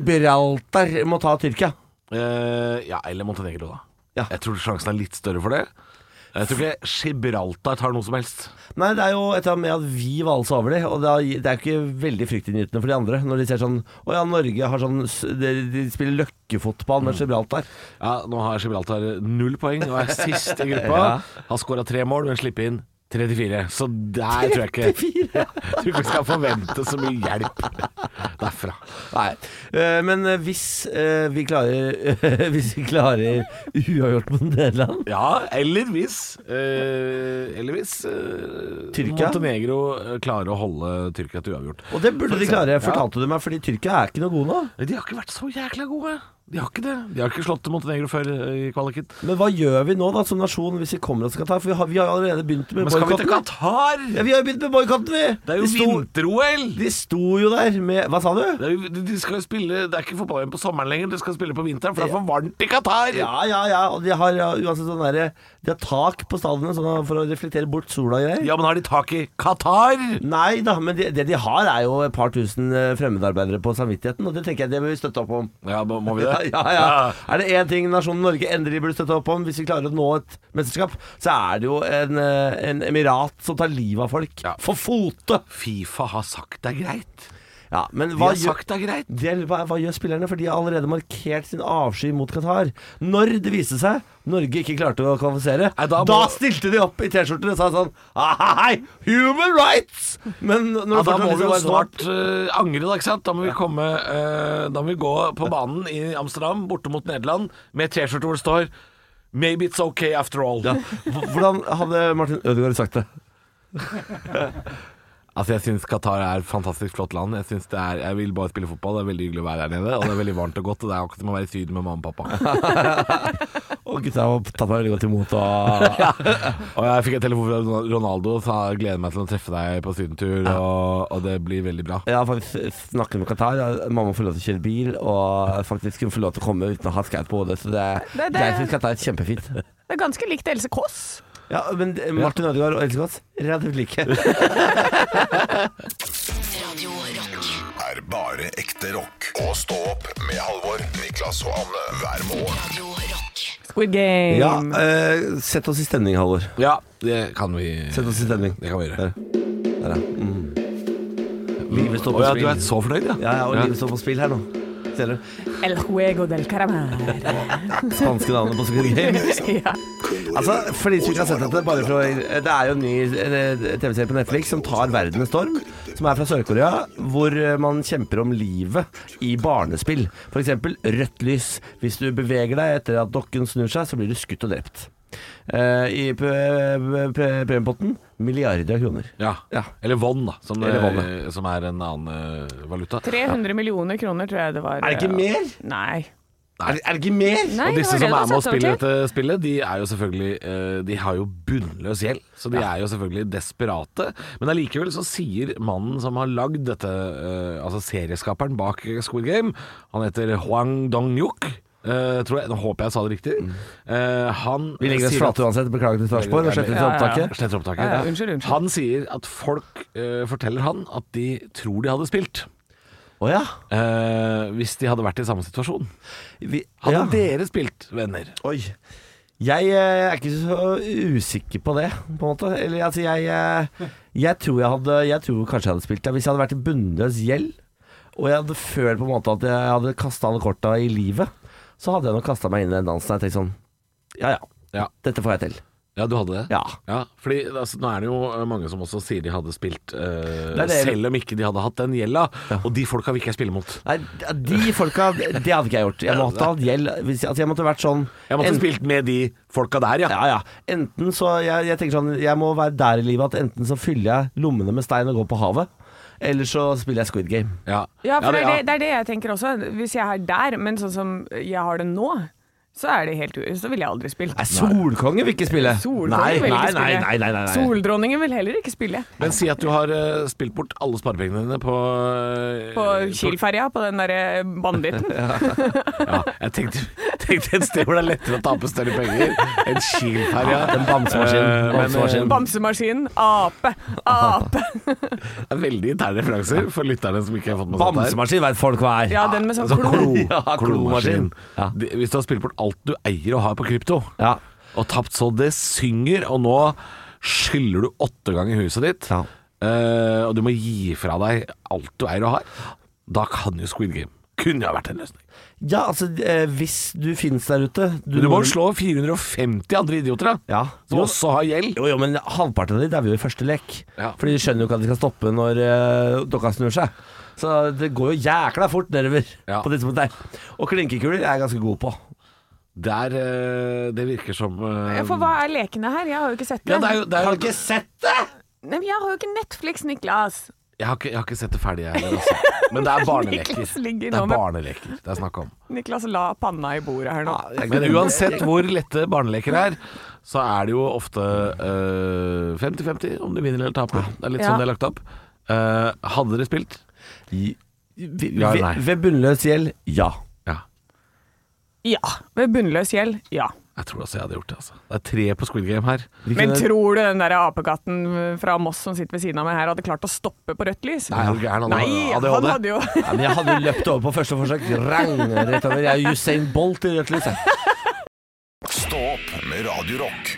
Speaker 5: Gibraltar må ta Tyrkia.
Speaker 3: Eh, ja, eller Montenegro, da.
Speaker 5: Ja.
Speaker 3: Jeg tror sjansen er litt større for det. Jeg tror ikke Gibraltar tar noe som helst.
Speaker 5: Nei, det er jo et eller annet med at vi valser over det, og det er, det er ikke veldig fryktinngytende for de andre når de ser sånn Å ja, Norge har sånn s- De, de spiller løkkefotball med Gibraltar.
Speaker 3: Ja, Nå har Gibraltar null poeng og er sist i gruppa. Har skåra tre mål, men slipper inn 34. Så der tror jeg ikke Jeg tror ikke vi skal forvente så mye hjelp derfra.
Speaker 5: Nei. Eh, men eh, hvis eh, vi klarer Hvis vi klarer uavgjort mot Nederland
Speaker 3: Ja, eller hvis eh, Eller hvis eh,
Speaker 5: Tyrkia?
Speaker 3: Montenegro eh, klarer å holde Tyrkia til uavgjort.
Speaker 5: Og det burde de klare, fortalte du meg, fordi Tyrkia er ikke noe gode nå.
Speaker 3: Nei, De har ikke vært så jækla gode. De har ikke det. De har ikke slått Montenegro før eh, i kvaliken.
Speaker 5: Men hva gjør vi nå da som nasjon hvis vi kommer oss til Qatar? For vi har, vi har jo allerede begynt med
Speaker 3: Men skal vi til
Speaker 5: boikotten.
Speaker 3: Qatar?
Speaker 5: Ja, vi har jo begynt med boikotten, vi!
Speaker 3: Det er jo
Speaker 5: de, sto,
Speaker 3: vinter-OL!
Speaker 5: de sto jo der med Hva sa du?
Speaker 3: Det er jo- De, de skal jo spille Det er ikke fotball-VM på sommeren lenger, de skal spille på vinteren, for det er for varmt i Qatar!
Speaker 5: Ja, ja, ja. Og de har ja, uansett sånn derre De har tak på stallene sånn at- for å reflektere bort sola og greier.
Speaker 3: Ja, men har de tak i Qatar?
Speaker 5: Nei da, men det, det de har er jo et par tusen eh, fremmedarbeidere på samvittigheten, og det tenker jeg det bør vi støtte opp om.
Speaker 3: Ja, må må vi
Speaker 5: Ja,
Speaker 3: det?
Speaker 5: ja, ja. Er det én ting nasjonen Norge endelig burde støtte opp om hvis vi klarer å nå et mesterskap, så er det jo en, eh, en emirat som tar livet av folk.
Speaker 3: Ja.
Speaker 5: For fote!
Speaker 3: Fifa har sagt det er greit.
Speaker 5: Ja, men
Speaker 3: De
Speaker 5: hva
Speaker 3: har
Speaker 5: gjør,
Speaker 3: sagt det er greit.
Speaker 5: det, er- hva, hva gjør spillerne? For de har allerede markert sin avsky mot Qatar. Når det viste seg Norge ikke klarte å kvalifisere,
Speaker 3: Nei,
Speaker 5: da,
Speaker 3: da må-
Speaker 5: stilte de opp i T-skjorter og sa sånn ah, Hei, human rights! Men når
Speaker 3: Ja,
Speaker 5: det
Speaker 3: da
Speaker 5: fortsatt
Speaker 3: må vi
Speaker 5: liksom
Speaker 3: jo
Speaker 5: var sånn-
Speaker 3: snart eh, angre, da. ikke sant? Da må vi komme eh, Da må vi gå på banen i Amsterdam, borte mot Nederland, med T-skjorte hvor det står 'Maybe it's okay after all'.
Speaker 5: ja. Hvordan hadde Martin Ødegaard sagt det?
Speaker 3: Altså Jeg syns Qatar er et fantastisk flott land. Jeg, synes det er, jeg vil bare spille fotball. Det er veldig hyggelig å være der nede. Og det er veldig varmt og godt. Og Det er akkurat som å være i Syden med mamma og pappa.
Speaker 5: Og gutta har tatt meg veldig godt imot. Og...
Speaker 3: Og jeg fikk en telefon fra Ronaldo og sa jeg gleder meg til å treffe deg på sydentur, og, og det blir veldig bra.
Speaker 5: Jeg har faktisk snakket med Qatar. og Mamma får lov til å kjøre bil, og faktisk hun får lov til å komme uten å ha skaut på hodet. Så det,
Speaker 1: Det- det-
Speaker 5: jeg syns Qatar er kjempefint.
Speaker 1: Det er ganske likt Else Kåss.
Speaker 5: Ja, men eh, Martin Ødegaard og Else Kåss, relativt like.
Speaker 6: Radio Rock.
Speaker 2: er bare ekte rock. Og stå opp med Halvor, Niklas og Anne hver morgen.
Speaker 6: Radio Rock.
Speaker 1: Squid Game.
Speaker 5: Ja, eh, sett oss i stemning, Halvor.
Speaker 3: Ja, det kan vi
Speaker 5: Sett oss i stemning.
Speaker 3: Det kan vi gjøre.
Speaker 5: Der, Der ja. Mm. Livet står
Speaker 3: Å
Speaker 5: på
Speaker 3: ja,
Speaker 5: spill.
Speaker 3: du er så fornøyd, ja?
Speaker 5: Ja, ja, og livet står på spill her nå. Ser du?
Speaker 1: El juego del caramel.
Speaker 5: Spanske navnet på Squid Game.
Speaker 1: ja.
Speaker 5: Altså, for de som ikke har sett dette, bare for å, det er jo en ny eh, TV-serie på Netflix som tar verden med storm, som er fra Sør-Korea, hvor eh, man kjemper om livet i barnespill. For eksempel rødt lys. Hvis du beveger deg etter at dokken snur seg, så blir du skutt og drept. Eh, I pre- pre- pre- premiepotten milliarder av kroner.
Speaker 3: Ja.
Speaker 5: Ja.
Speaker 3: Eller won, da, som,
Speaker 5: Eller won,
Speaker 3: eh, som er en annen eh, valuta.
Speaker 1: 300 millioner kroner, tror jeg det var. eh,
Speaker 5: Er det ikke mer?
Speaker 1: Nei.
Speaker 5: Er, er det ikke mer?
Speaker 1: Nei,
Speaker 3: og
Speaker 1: det
Speaker 3: disse som
Speaker 1: var det det
Speaker 3: er med og
Speaker 1: satt over
Speaker 3: spiller
Speaker 1: til.
Speaker 3: dette spillet, de er jo selvfølgelig eh, De har jo bunnløs gjeld, så de er jo selvfølgelig desperate. Men allikevel så sier mannen som har lagd dette, eh, altså serieskaperen bak Squid Game, han heter Hwang Dong-yuk. eh, tror jeg, nå håper jeg jeg sa det riktig. Eh, han
Speaker 5: Vi legger oss
Speaker 3: sier at-
Speaker 5: flate uansett. Beklager til Sarpsborg og sletter til
Speaker 1: Ja, ja, ja.
Speaker 5: opptaket.
Speaker 3: Sletter opptaket.
Speaker 1: Ja, ja, unnskyld, unnskyld.
Speaker 3: Han sier at folk eh, forteller han at de tror de hadde spilt
Speaker 5: Å ja.
Speaker 3: eh, hvis de hadde vært i samme situasjon.
Speaker 5: Vi,
Speaker 3: Hadde
Speaker 5: ja.
Speaker 3: dere spilt, venner?
Speaker 5: Oi. Jeg eh, er ikke så usikker på det, på en måte. Eller altså, jeg eh, Jeg tror jeg hadde Jeg tror kanskje jeg hadde spilt det. Hvis jeg hadde vært i bunnløs gjeld, og jeg hadde følt på en måte at jeg hadde kasta alle korta i livet, så hadde jeg nok kasta meg inn i den dansen og tenkt sånn Ja ja,
Speaker 3: Ja.
Speaker 5: dette får jeg til.
Speaker 3: Ja, du hadde det?
Speaker 5: Ja.
Speaker 3: Ja, fordi altså, nå er det jo eh, mange som også sier de hadde spilt eh,
Speaker 5: Det er det-
Speaker 3: selv om ikke de hadde hatt den gjelda. Og de folka vil ikke jeg spille mot.
Speaker 5: Nei, de folka Det hadde ikke jeg gjort. Jeg måtte ha hatt gjeld. Hvis, altså, jeg måtte vært sånn
Speaker 3: Jeg måtte
Speaker 5: en-
Speaker 3: spilt med de folka der, ja.
Speaker 5: Ja, ja. Enten så jeg, jeg tenker sånn Jeg må være der i livet at enten så fyller jeg lommene med stein og går på havet, eller så spiller jeg Squid Game.
Speaker 3: Ja,
Speaker 1: Ja, for det,
Speaker 3: det-
Speaker 1: er det, det er det jeg tenker også. Hvis jeg er der, men sånn som jeg har det nå, så er det helt u... Så ville jeg aldri spilt.
Speaker 5: Nei, Solkonge vil ikke spille.
Speaker 1: Solkongen
Speaker 5: nei,
Speaker 1: vil ikke
Speaker 5: nei,
Speaker 1: spille.
Speaker 5: Nei, nei, nei, nei.
Speaker 1: Soldronningen vil heller ikke spille.
Speaker 3: Men si at du har eh, spilt bort alle sparepengene dine på eh,
Speaker 1: På Kiel-ferja, på den eh, derre banditten.
Speaker 3: Ja, jeg tenkte, tenkte et sted hvor det er lettere å tape større penger enn Kiel-ferja.
Speaker 5: En bamsemaskin.
Speaker 3: Eh, men, eh,
Speaker 5: bamsemaskin.
Speaker 1: Bamsemaskinen. Ape. Ape.
Speaker 3: Det er Veldig interne referanser for lytterne som ikke har fått med seg dette her.
Speaker 5: Bamsemaskin vet folk hva er.
Speaker 1: Ja, den med sånn
Speaker 3: Altså,
Speaker 1: klo.
Speaker 3: klo,
Speaker 5: Ja, klomaskin.
Speaker 3: klomaskin.
Speaker 5: Ja.
Speaker 3: De- Hvis du har spilt bort alt du eier og har på krypto,
Speaker 5: Ja.
Speaker 3: og tapt så det synger, og nå skylder du åtte ganger huset ditt,
Speaker 5: Ja.
Speaker 3: eh, og du må gi fra deg alt du eier og har, da kan jo Squid Game kunne ha vært en løsning.
Speaker 5: ja, altså eh, hvis du finnes der ute
Speaker 3: Men du må jo slå 450 andre idioter, da,
Speaker 5: Ja.
Speaker 3: som også har gjeld.
Speaker 5: Jo, jo, men halvparten av de dauer jo i første lek.
Speaker 3: Ja.
Speaker 5: Fordi de skjønner jo ikke at de skal stoppe når eh, dokka snur seg. Så det går jo jækla fort nedover
Speaker 3: Ja.
Speaker 5: på tidspunktet der. Og klinkekuler er jeg ganske god på.
Speaker 3: Der, eh, det virker som eh,
Speaker 1: Ja, For hva er lekene her? Jeg har jo ikke sett det.
Speaker 3: ja, det er jo, det er jo,
Speaker 5: ikke sett det!
Speaker 1: Nei, men jeg har jo ikke Netflix, Niklas.
Speaker 3: jeg, har ikke, jeg har ikke sett det ferdig, jeg heller. Altså. Men det er barneleker.
Speaker 1: Niklas ligger
Speaker 3: Det
Speaker 1: nå
Speaker 3: er
Speaker 1: med-
Speaker 3: barneleker det er snakk om.
Speaker 1: Niklas la panna i bordet her nå.
Speaker 3: Men uansett hvor lette barneleker er, så er det jo ofte eh, 50-50 om du vinner eller taper. Det er litt
Speaker 1: Ja.
Speaker 3: sånn det er lagt opp. Eh, hadde dere spilt? Ja,
Speaker 5: Ved,
Speaker 3: nei.
Speaker 5: ved bunnløs gjeld, ja.
Speaker 3: Ja.
Speaker 1: Ja. Ved bunnløs gjeld, ja.
Speaker 3: Jeg tror også jeg hadde gjort det. Altså. Det er tre på Squid Game her.
Speaker 5: Vi
Speaker 1: Men
Speaker 5: kunne-
Speaker 1: tror du den der apekatten fra Moss som sitter ved siden av meg her, hadde klart å stoppe på rødt lys?
Speaker 3: Nei, er du gæren? Han
Speaker 1: Nei,
Speaker 3: hadde
Speaker 1: han
Speaker 3: ADHD.
Speaker 1: hadde jo
Speaker 5: Ja, men jeg hadde jo løpt over på første forsøk. Rang, rett over. Jeg er Usain Bolt i rødt lys. jeg.
Speaker 2: Stå opp med Radio Rock.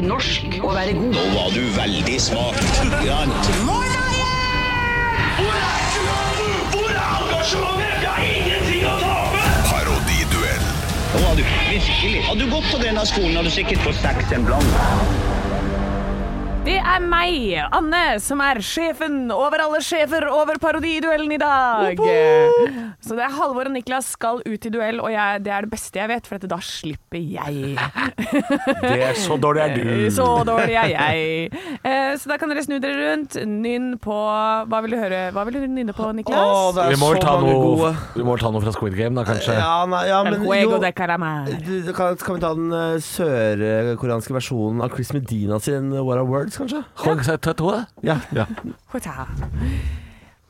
Speaker 9: Nå var du veldig smart.
Speaker 7: Hvor er engasjementet? Jeg har ingenting å tape!
Speaker 2: Parodiduell.
Speaker 9: Nå var du virkelig. Hadde du gått på denne skolen, hadde du sikkert fått seks en blank.
Speaker 1: Det er meg, Anne, som er sjefen over alle sjefer over parodiduellen i dag. Så det er Halvor og Niklas skal ut i duell, og jeg, det er det beste jeg vet, for at da slipper jeg.
Speaker 3: Det er så dårlig er
Speaker 1: Eh, Så dårlig er jeg. Eh, Så da kan dere snu dere rundt. Nynn på Hva vil du høre? Hva vil du nynne på, Niklas?
Speaker 5: det
Speaker 3: Vi må vel ta noe, vi må vel ta noe fra Squid Game, da, kanskje?
Speaker 5: Ja, nei, ja,
Speaker 1: El
Speaker 5: men
Speaker 1: juego
Speaker 5: jo
Speaker 1: de caramel.
Speaker 5: Du, du kan, kan vi ta den eh, sørkoreanske versjonen av Chris Medina sin What Are Words, kanskje?
Speaker 3: Kan ikke si tattoo, da?
Speaker 5: Ja.
Speaker 1: Hota.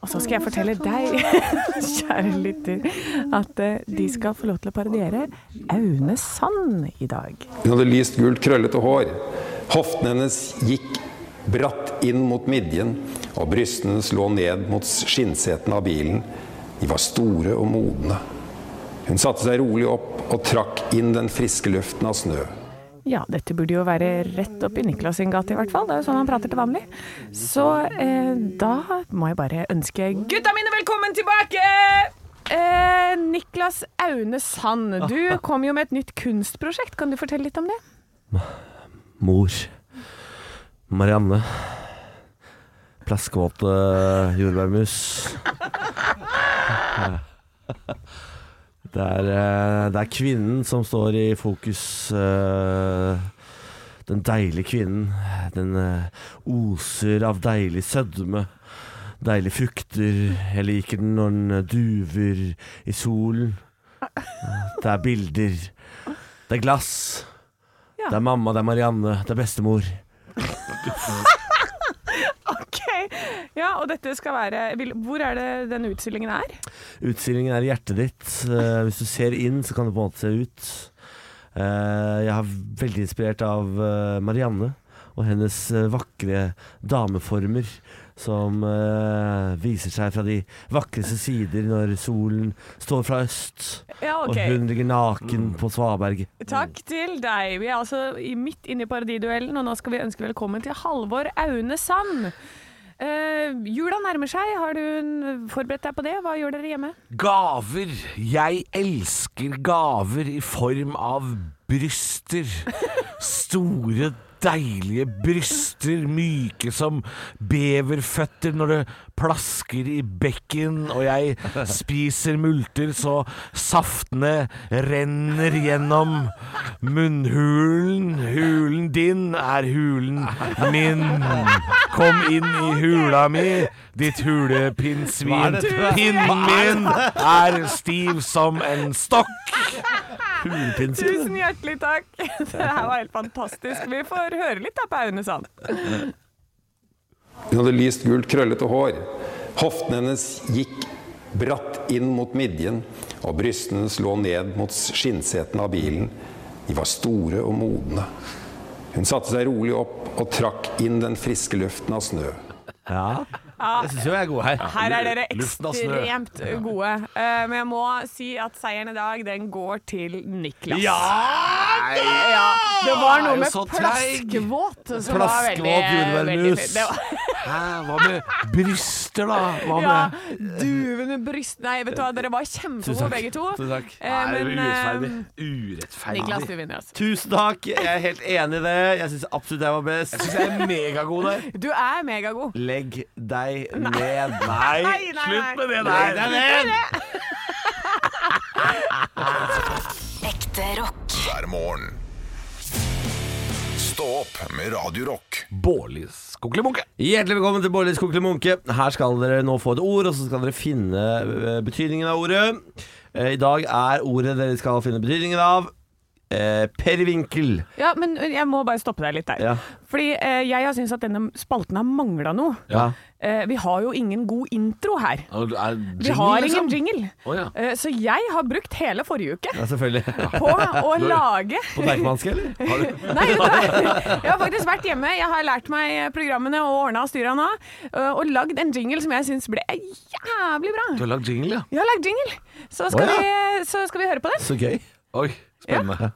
Speaker 1: Og så skal jeg fortelle deg, kjære lytter, at eh, de skal få lov til å parodiere Aune Sand i dag.
Speaker 10: Hun hadde lyst gult, krøllete hår. Hoftene hennes gikk bratt inn mot midjen, og brystene hennes lå ned mot skinnsetene av bilen. De var store og modne. Hun satte seg rolig opp og trakk inn den friske luften av snø.
Speaker 1: Ja, dette burde jo være rett opp i Niklas sin gate i hvert fall. Det er jo sånn han prater til vanlig. Så eh, da må jeg bare ønske gutta mine velkommen tilbake! Eh, Niklas Aune Sand, du kom jo med et nytt kunstprosjekt. Kan du fortelle litt om det?
Speaker 5: Mor. Marianne. Plaskevåte jordbærmus. Det er, eh, det er kvinnen som står i fokus. eh, Den deilige kvinnen. Den eh, oser av deilig sødme. Deilige frukter. Jeg liker den når den eh, duver i solen. Det er bilder. Det er glass. Det er mamma, det er Marianne, det er bestemor.
Speaker 1: Ok, ja, og dette skal være vil- Hvor er det denne utstillingen er?
Speaker 5: Utstillingen er i hjertet ditt. Eh, hvis du ser inn, så kan du på en måte se ut. Eh, jeg er veldig inspirert av eh, Marianne og hennes eh, vakre dameformer. Som eh, viser seg fra de vakreste sider når solen står fra øst,
Speaker 1: Ja, ok.
Speaker 5: og hun ligger naken
Speaker 3: Mm.
Speaker 5: på svaberget.
Speaker 1: Takk til deg. Vi er altså i- midt inne i parodiduellen, og nå skal vi ønske velkommen til Halvor Aune Sand. Eh, jula nærmer seg. Har du en- forberedt deg på det? Hva gjør dere hjemme?
Speaker 3: Gaver. Jeg elsker gaver i form av bryster. Store, deilige bryster, myke som beverføtter når det plasker i bekken, og jeg spiser multer så saftene renner gjennom munnhulen. Hulen din er hulen min. Kom inn i hula mi, ditt
Speaker 5: Hva er
Speaker 3: hulepinnsvin.
Speaker 5: dette?
Speaker 3: Pinnen min er stiv som en stokk.
Speaker 5: Hulepinnsvin.
Speaker 1: Tusen hjertelig takk. Det her var helt fantastisk. Vi får høre litt da på Aune Sand.
Speaker 10: Hun hadde lyst gult, krøllete hår. Hoftene hennes gikk bratt inn mot midjen, og brystene hennes lå ned mot skinnsetene av bilen. De var store og modne. Hun satte seg rolig opp og trakk inn den friske luften av snø.
Speaker 5: Ja. Jeg syns jo jeg er god her.
Speaker 1: Her er dere
Speaker 3: Luften av snø.
Speaker 1: ekstremt gode. Eh, men jeg må si at seieren i dag, den går til Niklas.
Speaker 3: Ja!
Speaker 1: Det var
Speaker 3: Er
Speaker 1: noe
Speaker 3: jo
Speaker 1: med
Speaker 3: så treig.
Speaker 1: plaskvåt som var
Speaker 5: Plaskevåt
Speaker 1: veldig, veldig
Speaker 5: jordbærmus.
Speaker 1: fint. Det var-
Speaker 3: Hæ, hva med bryster, da? Hva med
Speaker 1: Ja, duvende bryst Nei, vet du hva, dere var kjempegode begge to.
Speaker 5: takk.
Speaker 1: Eh,
Speaker 3: Er
Speaker 1: men
Speaker 3: det urettferdig?
Speaker 1: eh,
Speaker 3: Urettferdig.
Speaker 1: Niklas, du vinner. Altså.
Speaker 5: Tusen takk, jeg er helt enig i det. Jeg syns absolutt jeg var best.
Speaker 3: Syns jeg er megagod der.
Speaker 1: Du er megagod.
Speaker 5: Legg deg ned.
Speaker 3: Nei,
Speaker 1: Nei, nei,
Speaker 3: slutt med det der.
Speaker 5: Legg deg ned!
Speaker 6: Ekte rock.
Speaker 2: hver morgen. Stå opp med Radio Rock.
Speaker 3: Bårlis kokkelimunke.
Speaker 5: Hjertelig velkommen til Bårdlis kokkelig munke. Her skal dere nå få et ord, og så skal dere finne eh, betydningen av ordet. Eh, I dag er ordet dere skal finne betydningen av eh, pervinkel.
Speaker 1: Ja, men jeg må bare stoppe deg litt der.
Speaker 5: Ja.
Speaker 1: Fordi eh, jeg har syntes at denne spalten har mangla noe.
Speaker 5: Ja.
Speaker 1: Eh, vi har jo ingen god intro her. Vi
Speaker 3: Vi
Speaker 1: har ingen jingle.
Speaker 3: liksom. Å, ja.
Speaker 1: Eh, så jeg har brukt hele forrige uke
Speaker 5: ja, selvfølgelig.
Speaker 1: på å lage
Speaker 5: På Deichmanske, eller?
Speaker 1: Nei, vet du hva? jeg har faktisk vært hjemme. Jeg har lært meg programmene og ordna og styra nå. eh, Og lagd en jingle som jeg syns ble jævlig bra.
Speaker 3: Du har lagd jingle, ja.
Speaker 1: Jeg har lagd jingle, så skal,
Speaker 5: Å, ja.
Speaker 1: vi, så skal vi høre på den.
Speaker 5: Så gøy.
Speaker 3: Oi, spennende.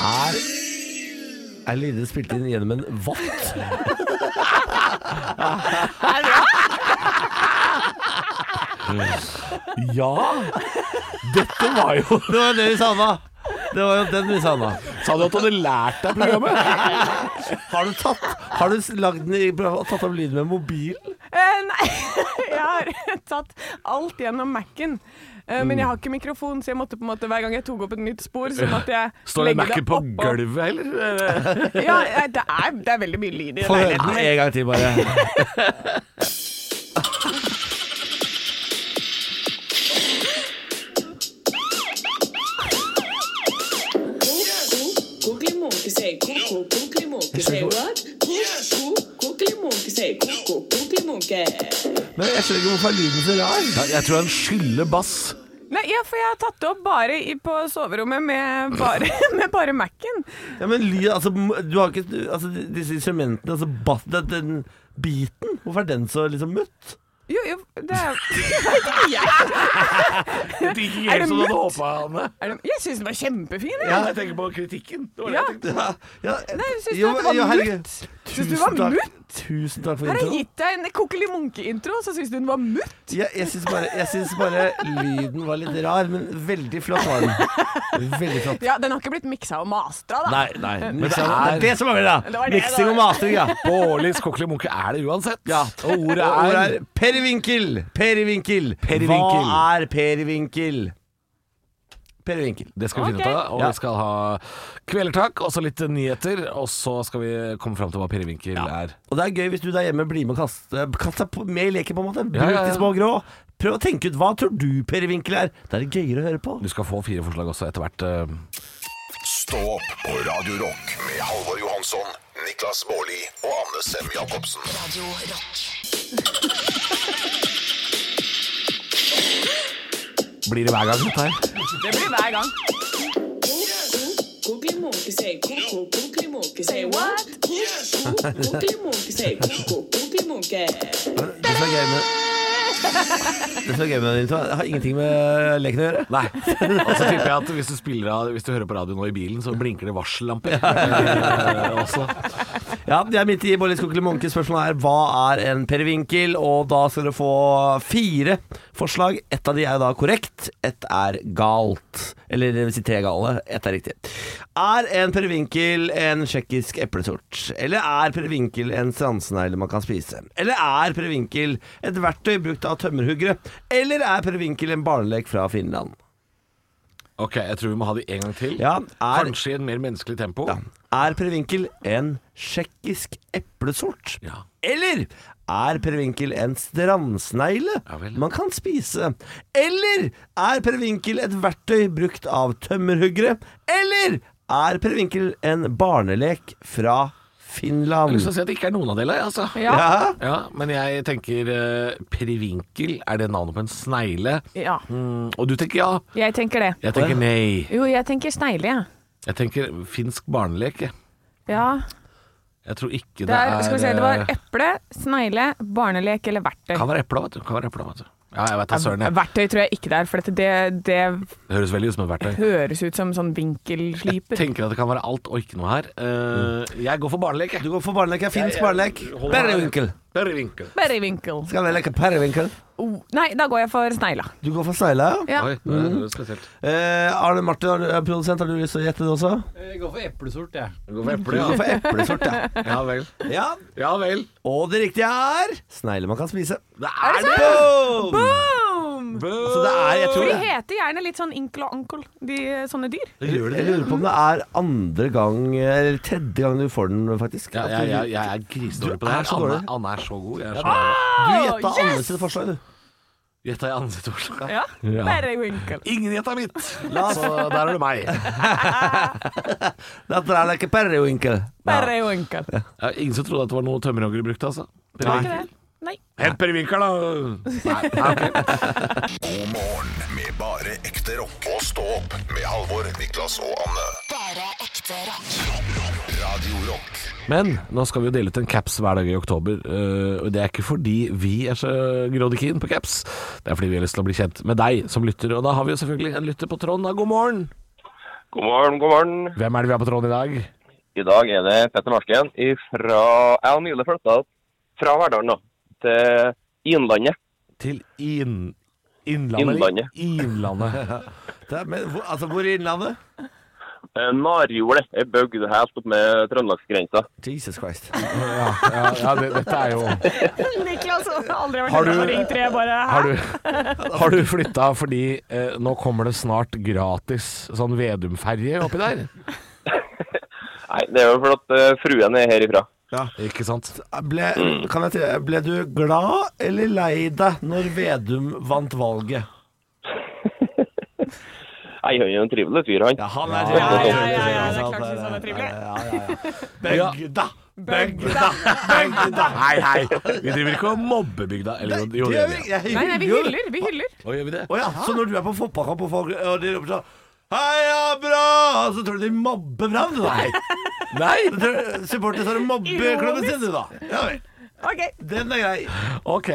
Speaker 5: Er er lyder spilt inn gjennom en vott?
Speaker 3: Ja! Dette var jo
Speaker 5: Det var det vi savna. Det var jo den vi savna.
Speaker 3: Sa du at du hadde lært deg programmet?
Speaker 5: Har du tatt Har du lagd den i, tatt opp lyden med mobilen?
Speaker 1: Eh, nei, jeg har tatt alt gjennom Mac-en. Eh, Men jeg har ikke mikrofon, så jeg måtte på en måte hver gang jeg tok opp et nytt spor, så måtte jeg
Speaker 3: Står det
Speaker 1: legge
Speaker 3: Mac-en
Speaker 1: det
Speaker 3: på
Speaker 1: oppå.
Speaker 3: gulvet, eller?
Speaker 1: Ja, eh, det er, det er veldig mye lyd i
Speaker 5: Få høre den
Speaker 1: leiligheten.
Speaker 5: en gang til, bare. Men jeg skjønner ikke hvorfor lyden så rar.
Speaker 3: Jeg tror han skylder bass.
Speaker 1: Nei, ja, for jeg har tatt det opp bare i, på soverommet med bare, med bare Mac-en.
Speaker 5: Ja, men lyd, altså, m- du har ikke, du- altså disse instrumentene, altså bass, den, den biten, hvorfor er den så liksom mutt?
Speaker 1: Jo, jo, det er Vet ikke jeg.
Speaker 3: Det gikk ikke
Speaker 1: Er
Speaker 3: helt
Speaker 1: det
Speaker 3: som du hadde
Speaker 1: mutt?
Speaker 3: håpa, Hanne.
Speaker 1: Er det, jeg syns den var kjempefin, jeg.
Speaker 3: Ja, jeg tenker på kritikken. Det var det
Speaker 1: Ja.
Speaker 3: jeg tenkte.
Speaker 5: Ja, ja,
Speaker 1: Nei, syns du
Speaker 5: jo,
Speaker 1: at det var
Speaker 5: jo, herregud.
Speaker 1: mutt? Syns du det var
Speaker 5: Tusen takk-
Speaker 1: mutt?
Speaker 5: Tusen takk for
Speaker 1: Her har jeg
Speaker 5: introen.
Speaker 1: gitt deg en kokkeli-munke-intro, så syns du den var mutt?
Speaker 5: Jeg, jeg syns bare, jeg syns bare lyden var litt rar, men veldig flott var den. Veldig flott.
Speaker 1: Ja, den har ikke blitt miksa og mastra, da.
Speaker 5: Nei, nei. Men det
Speaker 3: er-
Speaker 5: er det som mangler,
Speaker 1: Det
Speaker 5: da!
Speaker 1: var det,
Speaker 5: Miksing
Speaker 1: det
Speaker 5: og
Speaker 1: var
Speaker 5: mastring, ja.
Speaker 3: Bårlis kokkeli munke er det uansett.
Speaker 5: Ja.
Speaker 3: Og ordet
Speaker 5: Og ordet
Speaker 3: er
Speaker 5: er perivinkel. Perivinkel.
Speaker 3: Perivinkel.
Speaker 5: Hva er perivinkel? Perivinkel.
Speaker 3: Det skal vi finne ut av. Og
Speaker 5: Ja.
Speaker 3: vi skal ha kvelertak og så litt nyheter. Og så skal vi komme fram til hva Pirrevinkel er.
Speaker 5: Og det er gøy hvis du der hjemme blir med og kaster Kast deg på- med i leken, på en måte. Bruk
Speaker 3: Ja, ja, ja.
Speaker 5: de små grå. Prøv å tenke ut hva tror du perivinkel er. Da er det gøyere å høre på.
Speaker 3: Du skal få fire forslag også etter hvert. eh.
Speaker 2: Stå opp på Radio Rock med Halvor Johansson, Niklas Baarli og Anne Sem Jacobsen.
Speaker 6: Radio Rock.
Speaker 3: Blir det hver gang dette her?
Speaker 1: Det blir hver gang.
Speaker 5: Det som er gøy med det som er gøy med den introen, det har ingenting med leken å gjøre. Altså,
Speaker 3: Nei. Og så tipper jeg at hvis du, spiller av, hvis du hører på radio nå i bilen, så blinker det varsellamper. Eh, også.
Speaker 5: Ja, det er midt i Bollis Kokkeli Munke. Spørsmålet er hva er en perivinkel? Og da skal du få fire forslag. Ett av de er da korrekt, ett er galt. Eller det vil si tre gale. Ett er riktig. Er en perivinkel en tsjekkisk eplesort? Eller er perivinkel en strandsnegle man kan spise? Eller er perivinkel et verktøy brukt av tømmerhuggere? Eller er perivinkel en barnelek fra Finland?
Speaker 3: Ok, jeg tror vi må ha de en gang til.
Speaker 5: Ja, er,
Speaker 3: Kanskje i en mer menneskelig tempo.
Speaker 5: ja. er perivinkel en tsjekkisk eplesort?
Speaker 3: Ja.
Speaker 5: Eller er perivinkel en strandsnegle
Speaker 3: Ja vel.
Speaker 5: man kan spise? Eller er perivinkel et verktøy brukt av tømmerhuggere? Eller er perivinkel en barnelek fra
Speaker 3: Jeg har
Speaker 5: Finland?
Speaker 3: lyst til å si at det ikke er noen av delene, altså.
Speaker 1: Ja.
Speaker 5: Ja.
Speaker 3: Ja, men jeg tenker eh, perivinkel, er det navnet på en snegle?
Speaker 1: ja.
Speaker 3: Mm, og du tenker ja.
Speaker 1: Jeg tenker det.
Speaker 3: Jeg tenker nei.
Speaker 1: Jo, jeg tenker snegle, jeg.
Speaker 3: Jeg tenker finsk barnelek. jeg.
Speaker 1: Ja.
Speaker 3: Jeg tror ikke det,
Speaker 1: Det er, skal vi se, det var
Speaker 3: eh,
Speaker 1: eple, snegle, barnelek eller verktøy.
Speaker 3: Kan være eple, vet du. Kan være eple, vet du. Ja, jeg vet da søren. jeg.
Speaker 1: Verktøy tror jeg ikke det er, for dette, det, det
Speaker 3: Det høres veldig ut som et verktøy.
Speaker 1: høres ut som sånn vinkelsliper.
Speaker 3: Tenker at det kan være alt og ikke noe her. Eh, jeg går for barnelek, jeg.
Speaker 5: Du går for barnelek, ja. Finsk
Speaker 3: Jeg- jeg
Speaker 5: barnelek.
Speaker 3: holder-
Speaker 5: Perivinkel.
Speaker 3: Perivinkel.
Speaker 1: Berryvinkel.
Speaker 5: Skal vi leke perivinkel?
Speaker 1: Oh, nei, da går jeg for snegla.
Speaker 5: Du går for snegle, ja.
Speaker 1: Ja.
Speaker 3: Oi, det er spesielt.
Speaker 5: Eh, Arne Martin, har du, er produsent, har du lyst til å gjette det også?
Speaker 11: Eh, Jeg går for eplesort, jeg.
Speaker 3: Jeg går for
Speaker 5: Du
Speaker 3: eple,
Speaker 5: går
Speaker 3: ja.
Speaker 5: for e- eplesort, ja.
Speaker 3: Ja vel.
Speaker 5: ja.
Speaker 3: Ja vel.
Speaker 5: Og det riktige er snegle man kan spise.
Speaker 3: Det er det!
Speaker 5: Boom!
Speaker 1: Boom!
Speaker 5: Så det er, jeg tror
Speaker 1: For de
Speaker 5: det.
Speaker 1: heter gjerne litt sånn inkel og ankel, de sånne dyr.
Speaker 3: Gjør det
Speaker 5: Jeg lurer på om det er andre gang Eller tredje gang du får den, faktisk.
Speaker 3: Ja, jeg, jeg, jeg er grisedårlig på det
Speaker 5: Du er
Speaker 3: her.
Speaker 5: så
Speaker 3: Anne,
Speaker 5: dårlig.
Speaker 3: Anne er så god. Jeg er så dårlig.
Speaker 5: Du gjetta
Speaker 1: Yes!
Speaker 5: alle sine forslag, du.
Speaker 3: Gjetta i andre sitt forslag.
Speaker 1: Ja.
Speaker 3: Ja.
Speaker 1: Berryvinkel.
Speaker 3: Ingen gjetta mitt! Så der er det meg.
Speaker 5: Dette er like periwinkle.
Speaker 1: Berryvinkel.
Speaker 3: Ja, ingen som trodde at det var noe tømmerhoggere brukte, altså.
Speaker 1: Ikke det? Nei.
Speaker 3: Hent perivinkel, da! Nei, nei, ok.
Speaker 2: God morgen med bare ekte rock. Og stå opp med Halvor, Niklas og Anne.
Speaker 6: Bare ekte rock.
Speaker 2: Radio Rock
Speaker 3: Men nå skal vi jo dele ut en caps hver dag i oktober. eh, Og det er ikke fordi vi er så grådig keen på caps, det er fordi vi har lyst til å bli kjent med deg som lytter. Og da har vi jo selvfølgelig en lytter på tråden. da. God morgen!
Speaker 7: God morgen, god morgen.
Speaker 3: Hvem er det vi har på tråden i dag?
Speaker 7: I dag er det Petter Marsken fra Jeg har nylig flytta fra Verdalen da, til Innlandet.
Speaker 3: Til inn... Innlandet. eller? Innlandet.
Speaker 5: Det er, men, hvor, altså, hvor i Innlandet?
Speaker 7: Eh, Narjordet er bygd helt opp med trøndelagsgrensa.
Speaker 5: Jesus Christ.
Speaker 3: Ja, ja, ja det, dette er jo
Speaker 1: Niklas har altså. aldri vært
Speaker 3: Har du-
Speaker 1: innom Ring 3, bare
Speaker 3: Har du, har du flytta fordi eh, nå kommer det snart gratis sånn Vedum-ferje oppi der?
Speaker 7: Nei, det er jo fordi at eh, fruen er herifra.
Speaker 3: Ikke sant?
Speaker 5: Ble,
Speaker 7: Mm.
Speaker 5: kan jeg tre, ble du glad eller lei deg når Vedum vant valget?
Speaker 7: Nei, han er en trivelig fyr, han.
Speaker 5: Ja, han er
Speaker 1: ja, ja, ja, ja, ja, det er klart jeg synes han er trivelig.
Speaker 5: Ja, ja, ja. Bygda, bygda, bygda.
Speaker 3: Nei, hei! Vi driver ikke og mobber bygda. Eller jo, jo, det gjør vi.
Speaker 5: Jeg
Speaker 1: Nei, nei, vi
Speaker 5: jo-
Speaker 1: hyller. Vi hyller.
Speaker 3: Å, gjør vi det?
Speaker 5: Å ja, så når du er på fotballkamp og folk og de roper sånn Heia Brann! Så tror du de mobber Brann? du, Nei.
Speaker 3: Nei!
Speaker 5: Tror- Supporter står og mobber klubben sin, du, da. Ja vel.
Speaker 1: Ok.
Speaker 5: Den er grei.
Speaker 3: Ok.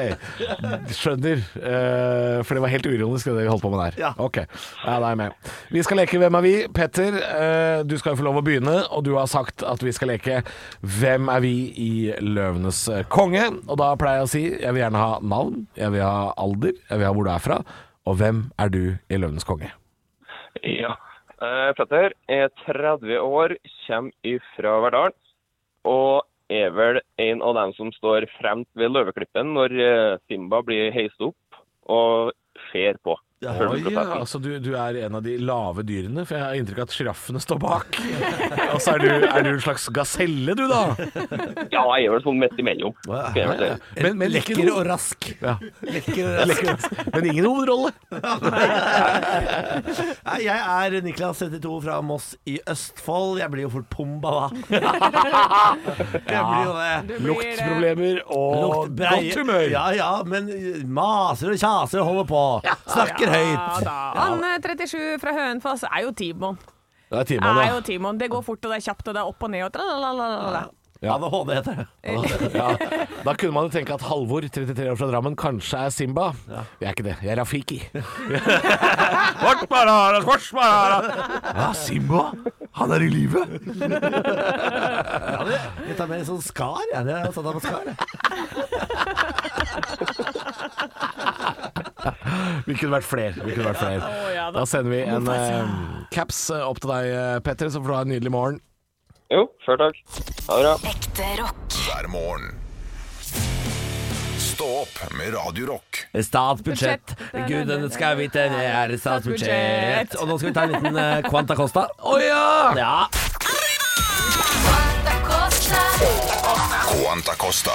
Speaker 3: Skjønner. Eh, for det var helt uironisk, det vi holdt på med der.
Speaker 5: Ja.
Speaker 3: Ok. Ja, da er jeg med. Vi skal leke Hvem er vi? Petter, eh, du skal jo få lov å begynne, og du har sagt at vi skal leke Hvem er vi i Løvenes eh, konge? Og da pleier jeg å si jeg vil gjerne ha navn, jeg vil ha alder, jeg vil ha hvor du er fra, og hvem er du i Løvenes konge?
Speaker 7: Ja. Eh, Petter er 30 år, kommer fra Verdalen. Og er vel en av dem som står fremst ved løveklippen når eh, Simba blir heist opp og fer på.
Speaker 3: Oi,
Speaker 7: Følger
Speaker 3: ja,
Speaker 7: prosessen.
Speaker 3: altså du, du er en av de lave dyrene, for jeg har inntrykk av at sjiraffene står bak. Og så er du, er du en slags gaselle, du da.
Speaker 7: Ja, jeg er vel sånn midt imellom. skal jeg vel si.
Speaker 3: Men, men ikke
Speaker 5: Lekker
Speaker 3: noe-
Speaker 5: og rask.
Speaker 3: Ja.
Speaker 5: Lekker og rask.
Speaker 3: Men ingen hovedrolle.
Speaker 5: Nei, Jeg er Niklas 72 fra Moss i Østfold. Jeg blir jo fort Pumba, da. Jeg blir jo det.
Speaker 3: Luktproblemer og
Speaker 5: Lukt- brei-
Speaker 3: godt humør.
Speaker 5: Ja, ja, men maser og kjaser og holder på.
Speaker 1: eh,
Speaker 5: Snakker høyt.
Speaker 1: Han eh, 37 fra Høenfoss er jo Timon.
Speaker 3: Det er Timon,
Speaker 1: Er
Speaker 3: ja.
Speaker 1: jo Timon. Det går fort, og det er kjapt, og det er opp og ned og tralalala.
Speaker 5: ADHD heter det.
Speaker 3: ja. Da kunne man jo tenke at Halvor, 33 år fra Drammen, kanskje er Simba. Jeg er ikke det. Jeg er Rafiki. Korsbarara, korsbarara. Ja, Simba. Han er i live.
Speaker 5: Jeg tar med en sånn skar. Jeg, jeg har satt av på skar. jeg.
Speaker 3: Vi kunne vært flere. Vi kunne vært flere. da. sender vi en eh, caps eh, opp til deg, eh, Petter, så får du ha en nydelig morgen.
Speaker 7: Jo, sjøl takk. Ha det bra.
Speaker 6: Ekte rock.
Speaker 2: hver morgen. Stå opp med Radio Rock.
Speaker 5: Statsbudsjett.
Speaker 1: Budsjett.
Speaker 5: Gudene skal vite det er
Speaker 1: Statsbudsjett.
Speaker 5: statsbudsjett. Og nå skal vi ta en liten eh, Quanta Costa. Å ja!
Speaker 2: Quanta Costa.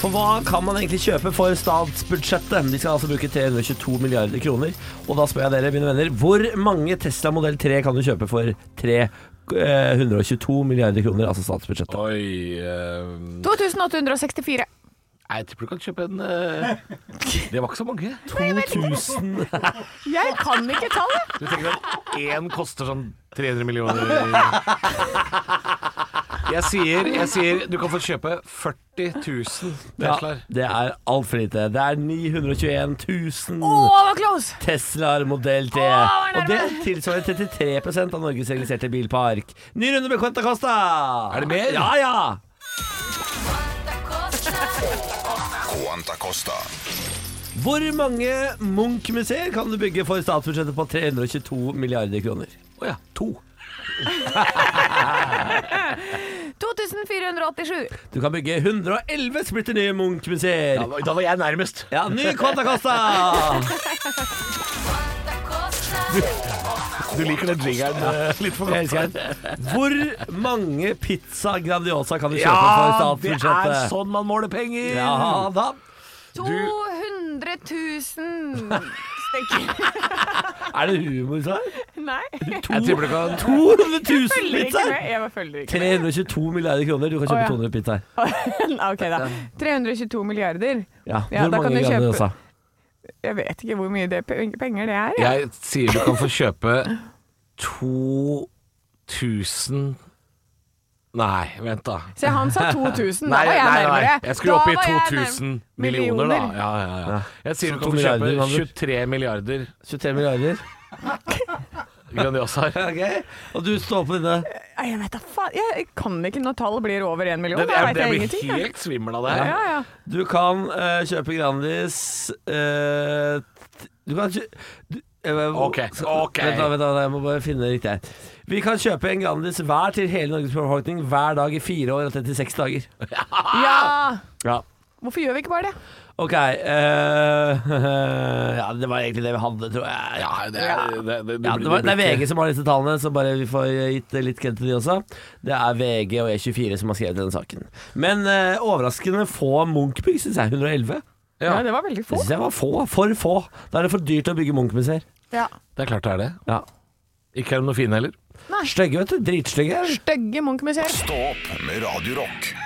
Speaker 5: For hva kan man egentlig kjøpe for statsbudsjettet? De skal altså bruke 322 milliarder kroner. Og da spør jeg dere, mine venner, hvor mange Tesla modell 3 kan du kjøpe for eh, 322 milliarder kroner, altså statsbudsjettet?
Speaker 3: Oi eh,
Speaker 1: 2864.
Speaker 3: Jeg tipper du kan kjøpe en eh, Det var ikke så mange.
Speaker 5: 2000
Speaker 1: Jeg kan ikke tallet!
Speaker 3: Du tenker at én koster sånn 300 millioner Jeg sier, jeg sier du kan få kjøpe 40 000 Teslaer.
Speaker 5: det er altfor lite. Det er 921 000
Speaker 3: Mm.
Speaker 1: Å, det var close!
Speaker 5: Teslaer modell
Speaker 1: Åh,
Speaker 5: 3.
Speaker 1: det var
Speaker 5: og det tilsvarer 33 av Norges registrerte bilpark. Ny runde med Quenta Costa!
Speaker 3: Er det mer?
Speaker 5: Ja, ja!
Speaker 2: Quanta Costa.
Speaker 5: Hvor mange Munch-museer kan du bygge for statsbudsjettet på 322 milliarder kroner?
Speaker 3: Å ja, to.
Speaker 1: 2487.
Speaker 5: Du kan bygge 111 splitter nye Munch-museer.
Speaker 3: Da var jeg nærmest.
Speaker 5: Ja, ny Quanta Costa!
Speaker 3: Du liker den jingeren eh, litt for
Speaker 5: Jeg
Speaker 3: godt.
Speaker 5: elsker den. Hvor mange pizza Grandiosa kan du
Speaker 3: Ja,
Speaker 5: kjøpe for
Speaker 3: det er
Speaker 5: statsbudsjettet?
Speaker 3: sånn man måler penger!
Speaker 5: Ja da.
Speaker 1: 200 000 stykker.
Speaker 5: Er det humor, sa jeg?
Speaker 1: Nei, jeg
Speaker 3: Jeg tipper du kan
Speaker 5: 200 000
Speaker 1: følger ikke
Speaker 5: pizzaer!
Speaker 1: med. Jeg følger ikke med.
Speaker 5: 322 milliarder kroner. Du kan
Speaker 1: Å, ja.
Speaker 5: kjøpe 200 pizzaer.
Speaker 1: Ok, da. 322 milliarder.
Speaker 5: Ja.
Speaker 1: Ja, da
Speaker 5: Hvor
Speaker 1: kan
Speaker 5: mange
Speaker 1: du kjøpe-
Speaker 5: Grandiosa?
Speaker 1: Jeg vet ikke hvor mye det, penger det er. jeg.
Speaker 3: Jeg sier du kan få kjøpe 2000 Nei, vent, da.
Speaker 1: Se, han sa 2000.
Speaker 3: Nei,
Speaker 1: da var
Speaker 3: nei,
Speaker 1: jeg
Speaker 3: nei.
Speaker 1: nærmere.
Speaker 3: Jeg skulle
Speaker 1: Da
Speaker 3: opp i
Speaker 1: var jeg
Speaker 3: 2000
Speaker 1: nærmere.
Speaker 3: millioner, da. Ja, ja, ja. Jeg sier du kan få kjøpe
Speaker 5: milliarder, Anders.
Speaker 3: 23 milliarder
Speaker 5: 23 milliarder.
Speaker 3: Grandiosaer.
Speaker 5: Ok, Og du står på denne.
Speaker 1: Nei, Jeg vet da faen. Jeg kan ikke når tallet blir over én million.
Speaker 3: Det,
Speaker 1: Da
Speaker 3: jeg,
Speaker 1: vet
Speaker 3: jeg
Speaker 1: jeg
Speaker 3: blir
Speaker 1: ingenting. jeg.
Speaker 3: helt svimmel av det her.
Speaker 1: Ja, ja.
Speaker 5: Du kan eh, kjøpe Grandis eh, t- Du kan kjøpe
Speaker 3: Ok, ok.
Speaker 5: Vent, da, vent da, jeg må bare finne det riktig her. Vi kan kjøpe en Grandis hver til hele Norges befolkning hver dag i fire år og 36 dager.
Speaker 3: Ah!
Speaker 1: Ja!
Speaker 5: Ja.
Speaker 1: Hvorfor gjør vi ikke bare det?
Speaker 5: Ok. eh, ja, det var egentlig det vi hadde, tror jeg. Ja,
Speaker 3: det, er- det, det,
Speaker 5: Ja, det, var, det er VG som har disse tallene, så bare vi får eh, gitt litt kred til de også. Det er VG og E24 som har skrevet denne saken. Men eh, overraskende få Munchbygg, syns jeg. 111.
Speaker 3: Ja.
Speaker 1: Nei, det var veldig
Speaker 5: Det
Speaker 1: få.
Speaker 5: syns jeg var få. For få. Da er det for dyrt å bygge Munch-museer.
Speaker 1: Ja.
Speaker 3: Det er klart det er det.
Speaker 5: Ja.
Speaker 3: Ikke er de noe fine heller.
Speaker 5: Stygge, vet du. Dritstygge.
Speaker 1: Stygge Munch-museer.
Speaker 2: Stå opp med Radio Rock.